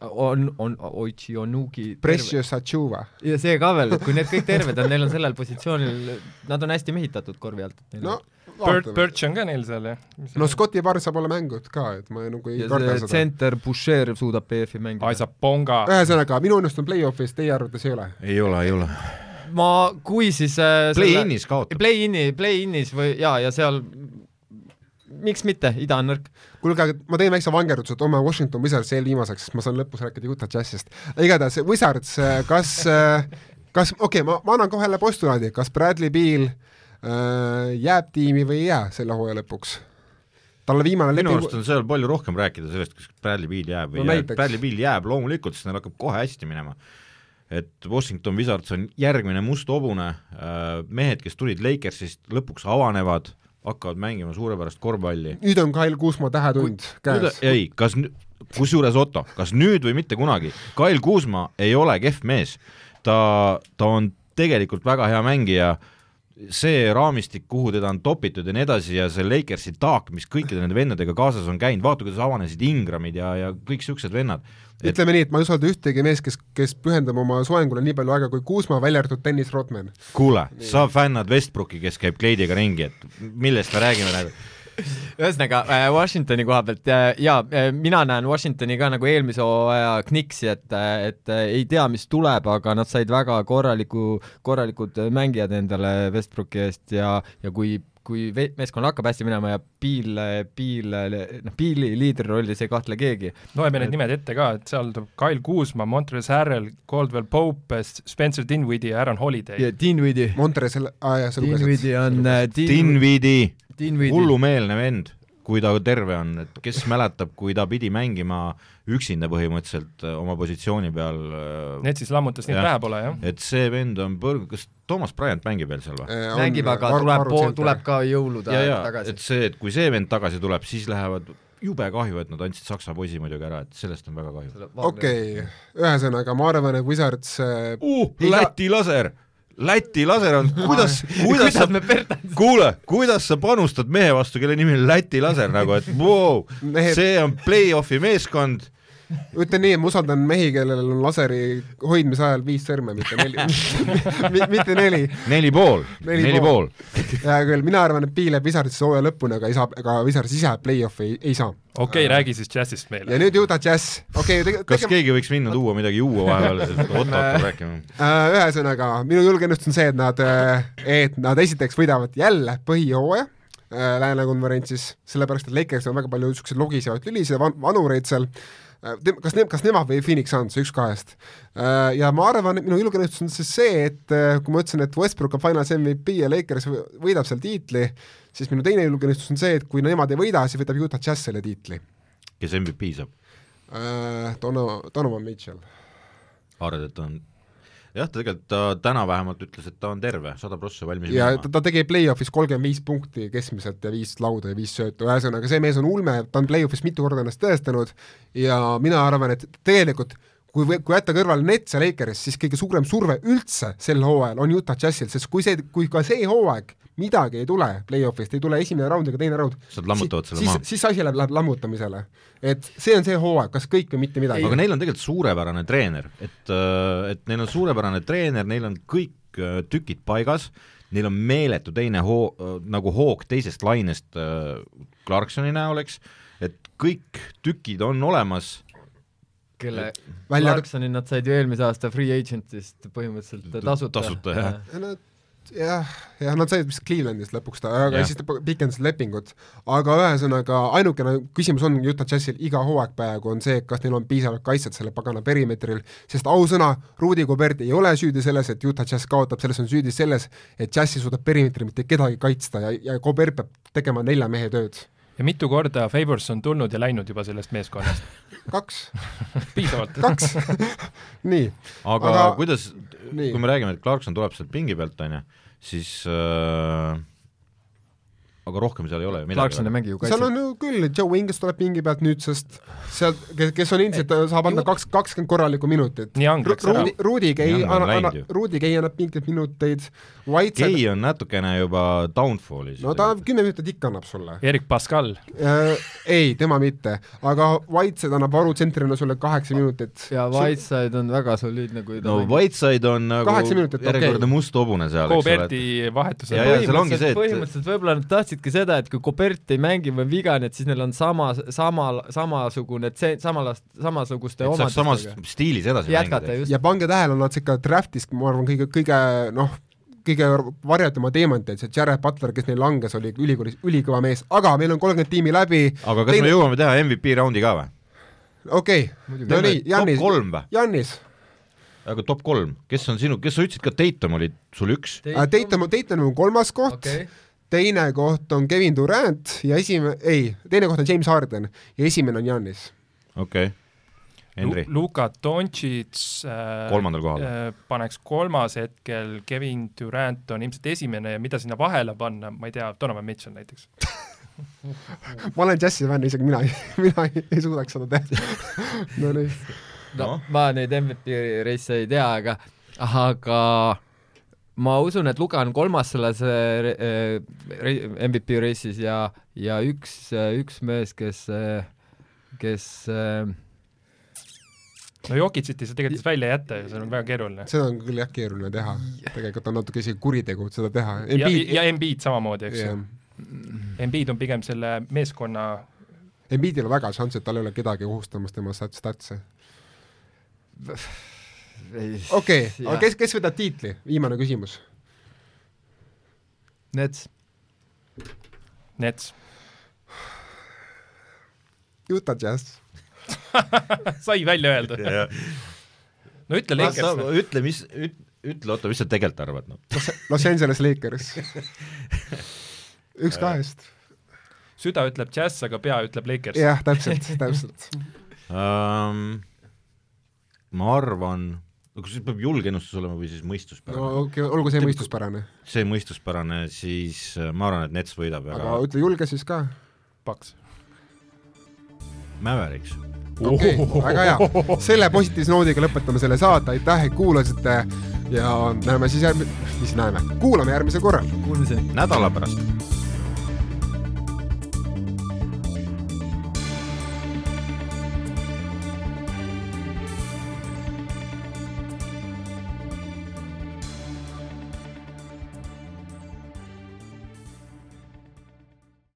on , on Oichi Onugi Precious Achuva . ja see ka veel , et kui need kõik terved on , neil on sellel positsioonil , nad on hästi mehitatud korvi alt . no Bird , vaatame . Birch on ka neil seal jah ? no Scotti Barnes saab olla mängud ka , et ma nagu ei ja karda see seda . tsenter Boucher suudab BF-i mängida . Aisa Ponga , Eh. ühesõnaga , minu ennustus on play-off'is , teie arvates ei ole ? ei ole , ei ole . ma , kui siis äh, selle... Play-in'is kaotab . Play-in'i , Play-in'is või jaa , ja seal miks mitte , ida on nõrk . kuulge , aga ma teen väikse vangerduse , toome Washington Wizards eelviimaseks , sest ma saan lõpus rääkida Utah Jazzist . igatahes Wizards , kas , kas , okei okay, , ma , ma annan kohe jälle postulaadi , kas Bradley Beal äh, jääb tiimi või ei jää selle hooaja lõpuks ? talle viimane minu leping arust , on seal palju rohkem rääkida sellest , kas Bradley Beal jääb või No ei jää. näiteks. Bradley Beal jääb loomulikult , sest neil hakkab kohe hästi minema . et Washington Wizards on järgmine must hobune , mehed , kes tulid Lakersist , lõpuks avanevad , hakkavad mängima suurepärast korvpalli . nüüd on Kail Kuusma tähetund käes . ei , kas , kusjuures Otto , kas nüüd või mitte kunagi , Kail Kuusma ei ole kehv mees . ta , ta on tegelikult väga hea mängija , see raamistik , kuhu teda on topitud ja nii edasi ja see Lakersi taak , mis kõikide nende vendadega kaasas on käinud , vaata , kuidas avanesid Ingramid ja , ja kõik niisugused vennad . et ütleme nii , et ma ei usalda ühtegi meest , kes , kes pühendab oma soengule nii palju aega kui Kuusma , välja arvatud Dennis Rodman . kuule , sa fännad Westbrooki , kes käib kleidiga ringi , et millest me räägime nagu , ühesõnaga äh, Washingtoni koha pealt äh, jaa äh, , mina näen Washingtoni ka nagu eelmise hooaja kniksi , et , et äh, ei tea , mis tuleb , aga nad said väga korraliku , korralikud mängijad endale Westbrooki eest ja , ja kui , kui ve- meeskonnal hakkab hästi minema ja Piil , Piil , noh , Piili liidrirollis ei kahtle keegi . loeme need nimed ette ka , et seal tuleb Kyle Kuusma , Montres Harrel , Caldwell Pope , Spencer Dinwiddie ja Aaron Holiday . ja Dinwiddie , Montresel , aa jaa , sa lugesid . Dinwiddie on äh, Din- , Dinwiddie Dinwiddie , hullumeelne vend , kui ta terve on , et kes mäletab , kui ta pidi mängima üksinda põhimõtteliselt äh, oma positsiooni peal , Need siis lammutas neid Jah. pähe pole jah ? et see vend on põrg- , kas Toomas Bryant mängib veel seal või ? Äh, mängib , aga tuleb , tuleb ka jõulude ja , ajal ja tagasi et . see , et kui see vend tagasi tuleb , siis lähevad jube kahju , et nad andsid saksa poisi muidugi ära , et sellest on väga kahju okei okay. , ühesõnaga ma arvan , et Wizards äh, uh, . Ei saa- Läti laser , Läti laser on , kuidas , kuidas sa kuidas , me perdame ? kuule , kuidas sa panustad mehe vastu , kelle nimi on Läti laser nagu , et vau wow, , Mehed- see on play-off'i meeskond ütlen nii , et ma usaldan mehi , kellel on laseri hoidmise ajal viis sõrme , mitte neli , mitte neli . neli pool , Neli neli pool. pool . hea küll , mina arvan , et Piil jääb Wizardisse hooaja lõpuni , aga ei saa , aga Wizards ise play-off'i ei, ei saa . Äh. okei , räägi siis Jazzist meile ja . nüüd Utah Jazz , okei okay, , kas tegelikult keegi võiks minna tuua midagi juua vahepeal , et Otto hakkab rääkima ? äh, ühesõnaga , minu julge ennustus on see , et nad , et nad esiteks võidavad jälle põhihooaja äh, Lääne konverentsis , sellepärast et Lakersil on väga palju niisuguseid logisevaid lülisid ja van- vanureid seal Äh, te- kas ne- , kas nemad või Phoenix Suns , üks kahest . Ja ma arvan , et minu julge ennustus on siis see , et äh, kui ma ütlesin , et Westbrook on finals MVP ja Lakers võ- võidab seal tiitli , siis minu teine julge ennustus on see , et kui nemad ei võida , siis võtab Utah Jazz selle tiitli . kes MVP saab ? Donovan , Donovan Mitchell . arvad , et on ? jah , ta tegelikult , ta täna vähemalt ütles , et ta on terve , sada prossa valmis ja ta, ta tegi play-off'is kolmkümmend viis punkti keskmiselt ja viis lauda ja viis söötu , ühesõnaga see mees on ulme , ta on play-off'is mitu korda ennast tõestanud ja mina arvan , et tegelikult kui või- , kui jätta kõrvale Nets ja Lakers , siis kõige suurem surve üldse sel hooajal on Utah Jazzil , sest kui see , kui ka see hooaeg midagi ei tule play-off'ist , ei tule esimene raund ega teine raund , Siis nad lammutavad selle maha. siis , siis asi läheb , läheb lammutamisele . et see on see hooaeg , kas kõik või mitte midagi . aga neil on tegelikult suurepärane treener , et , et neil on suurepärane treener , neil on kõik äh, tükid paigas , neil on meeletu teine hoo- , nagu hoog teisest lainest äh, Clarksoni näol , eks , et kõik tükid on olemas , kelle Välja- Clarksoni nad said ju eelmise aasta free agent'ist põhimõtteliselt tasuta . Tasuta, jah. . Nad jah , jah , nad said vist Clevelandist lõpuks ta , aga Jah. ja. siis ta p- pikendas lepingut , aga ühesõnaga ainukene küsimus on Utah Jazzil iga hooaeg peaaegu on see , kas neil on piisavalt kaitset selle pagana perimeetril , sest ausõna , Rudi Gobert ei ole süüdi selles , et Utah Jazz kaotab , selles on süüdi selles , et Jazz ei suuda perimeetril mitte kedagi kaitsta ja , ja Gobert peab tegema nelja mehe tööd . ja mitu korda Favors on tulnud ja läinud juba sellest meeskonnast kaks , piisavalt . kaks , nii aga, aga Aga- kuidas , nii. kui me räägime , et Clarkson tuleb sealt pingi pealt , on ju , siis äh, aga rohkem seal ei ole ju Clarkson ei midagi . mängi ju seal kaitset on . ju küll , Joe Ingles tuleb pingi pealt nüüd , sest sealt , kes , kes on ilmselt , saab anda kaks , kakskümmend korralikku minutit . Niang läks ära. Ruudi , Ruudi Gay Niang on läinud annab ju. , Ruudi Gay annab pingilt minuteid , White Kei on natukene juba downfall'is . no ta kümme minutit ikka annab sulle . Erik Pascal , Ei , tema mitte , aga White annab varutsentrina sulle kaheksa minutit . ja Whiteside on väga soliidne , kui ta no mängib. Whiteside on nagu Kaheksa minutit, järjekordne okei. must hobune seal , eks ole , Goberti vahetusel Ja, ja, seal ongi see, et- põhimõtteliselt võib-olla nad tahtsidki seda , et kui Gobert ei mängi või on vigane , et siis neil on sama , sama , samasugune , samal , samasuguste et saab samas omadustega stiilis edasi jätkata mängida . just . ja pange tähele , nad ikka draft'is , ma arvan , kõige , kõige noh , kõige varjatuma teemanteid , see Jared Butler , kes neil langes , oli ülikoolis ülikõva mees , aga meil on kolmkümmend tiimi läbi , aga kas Teine- me jõuame teha MVP raundi ka või ? okei okay. , Muidugi. no nii , top Janis , kolm või ? Janis , aga top kolm , kes on sinu , kes sa ütlesid ka , Dayton oli sul üks , äh, Dayton , Dayton on kolmas koht okay. okei , teine koht on Kevin Durant ja esimene , ei , teine koht on James Harden ja esimene on Janis . okei okay. . Henri , Luka Doncic äh, Kolmandal kohal. äh, paneks kolmas hetkel , Kevin Durant on ilmselt esimene ja mida sinna vahele panna , ma ei tea , Donovan Mitchell näiteks . ma olen džässi fänn , isegi mina , mina ei, ei suudaks seda teha . no nii , no Noh. ma neid MVP reise ei tea , aga , aga ma usun , et Luka on kolmas selles äh, re- re- MVP reisis ja , ja üks , üks mees , kes , kes äh, no Jokicit ei saa tegelikult siis välja jätta ju , see on väga keeruline . seda on küll jah keeruline teha , tegelikult on natuke isegi kuritegu et seda teha . ja , ja Embiid samamoodi , eks ju . Embiid on pigem selle meeskonna Embiidil on väga šanss , et tal ei ole kedagi ohustamas tema stat- statse . ei- okei okay, , jah. aga kes , kes võtab tiitli , viimane küsimus . Nets , nets . Utah Jazz . sai välja öeldud . no ütle Lakers . ütle , mis , ütle , oota , mis sa tegelikult arvad , noh . Los Angeles Lakers . üks kahest . süda ütleb Jazz , aga pea ütleb Lakers . jah , täpselt , täpselt . ma Ehm, arvan , kas see peab julge ennustus olema või siis mõistuspärane no ? okei okay, , olgu see mõistuspärane , see mõistuspärane , siis äh, ma arvan , et Nets võidab , aga aga ütle julge siis ka paks . Mäveriks . okei okay, , väga hea . selle positiivse noodiga lõpetame selle saate , aitäh , et kuulasite ja näeme siis järgmine , mis näeme , kuulame järgmisel korral . kuulmiseni . nädala pärast .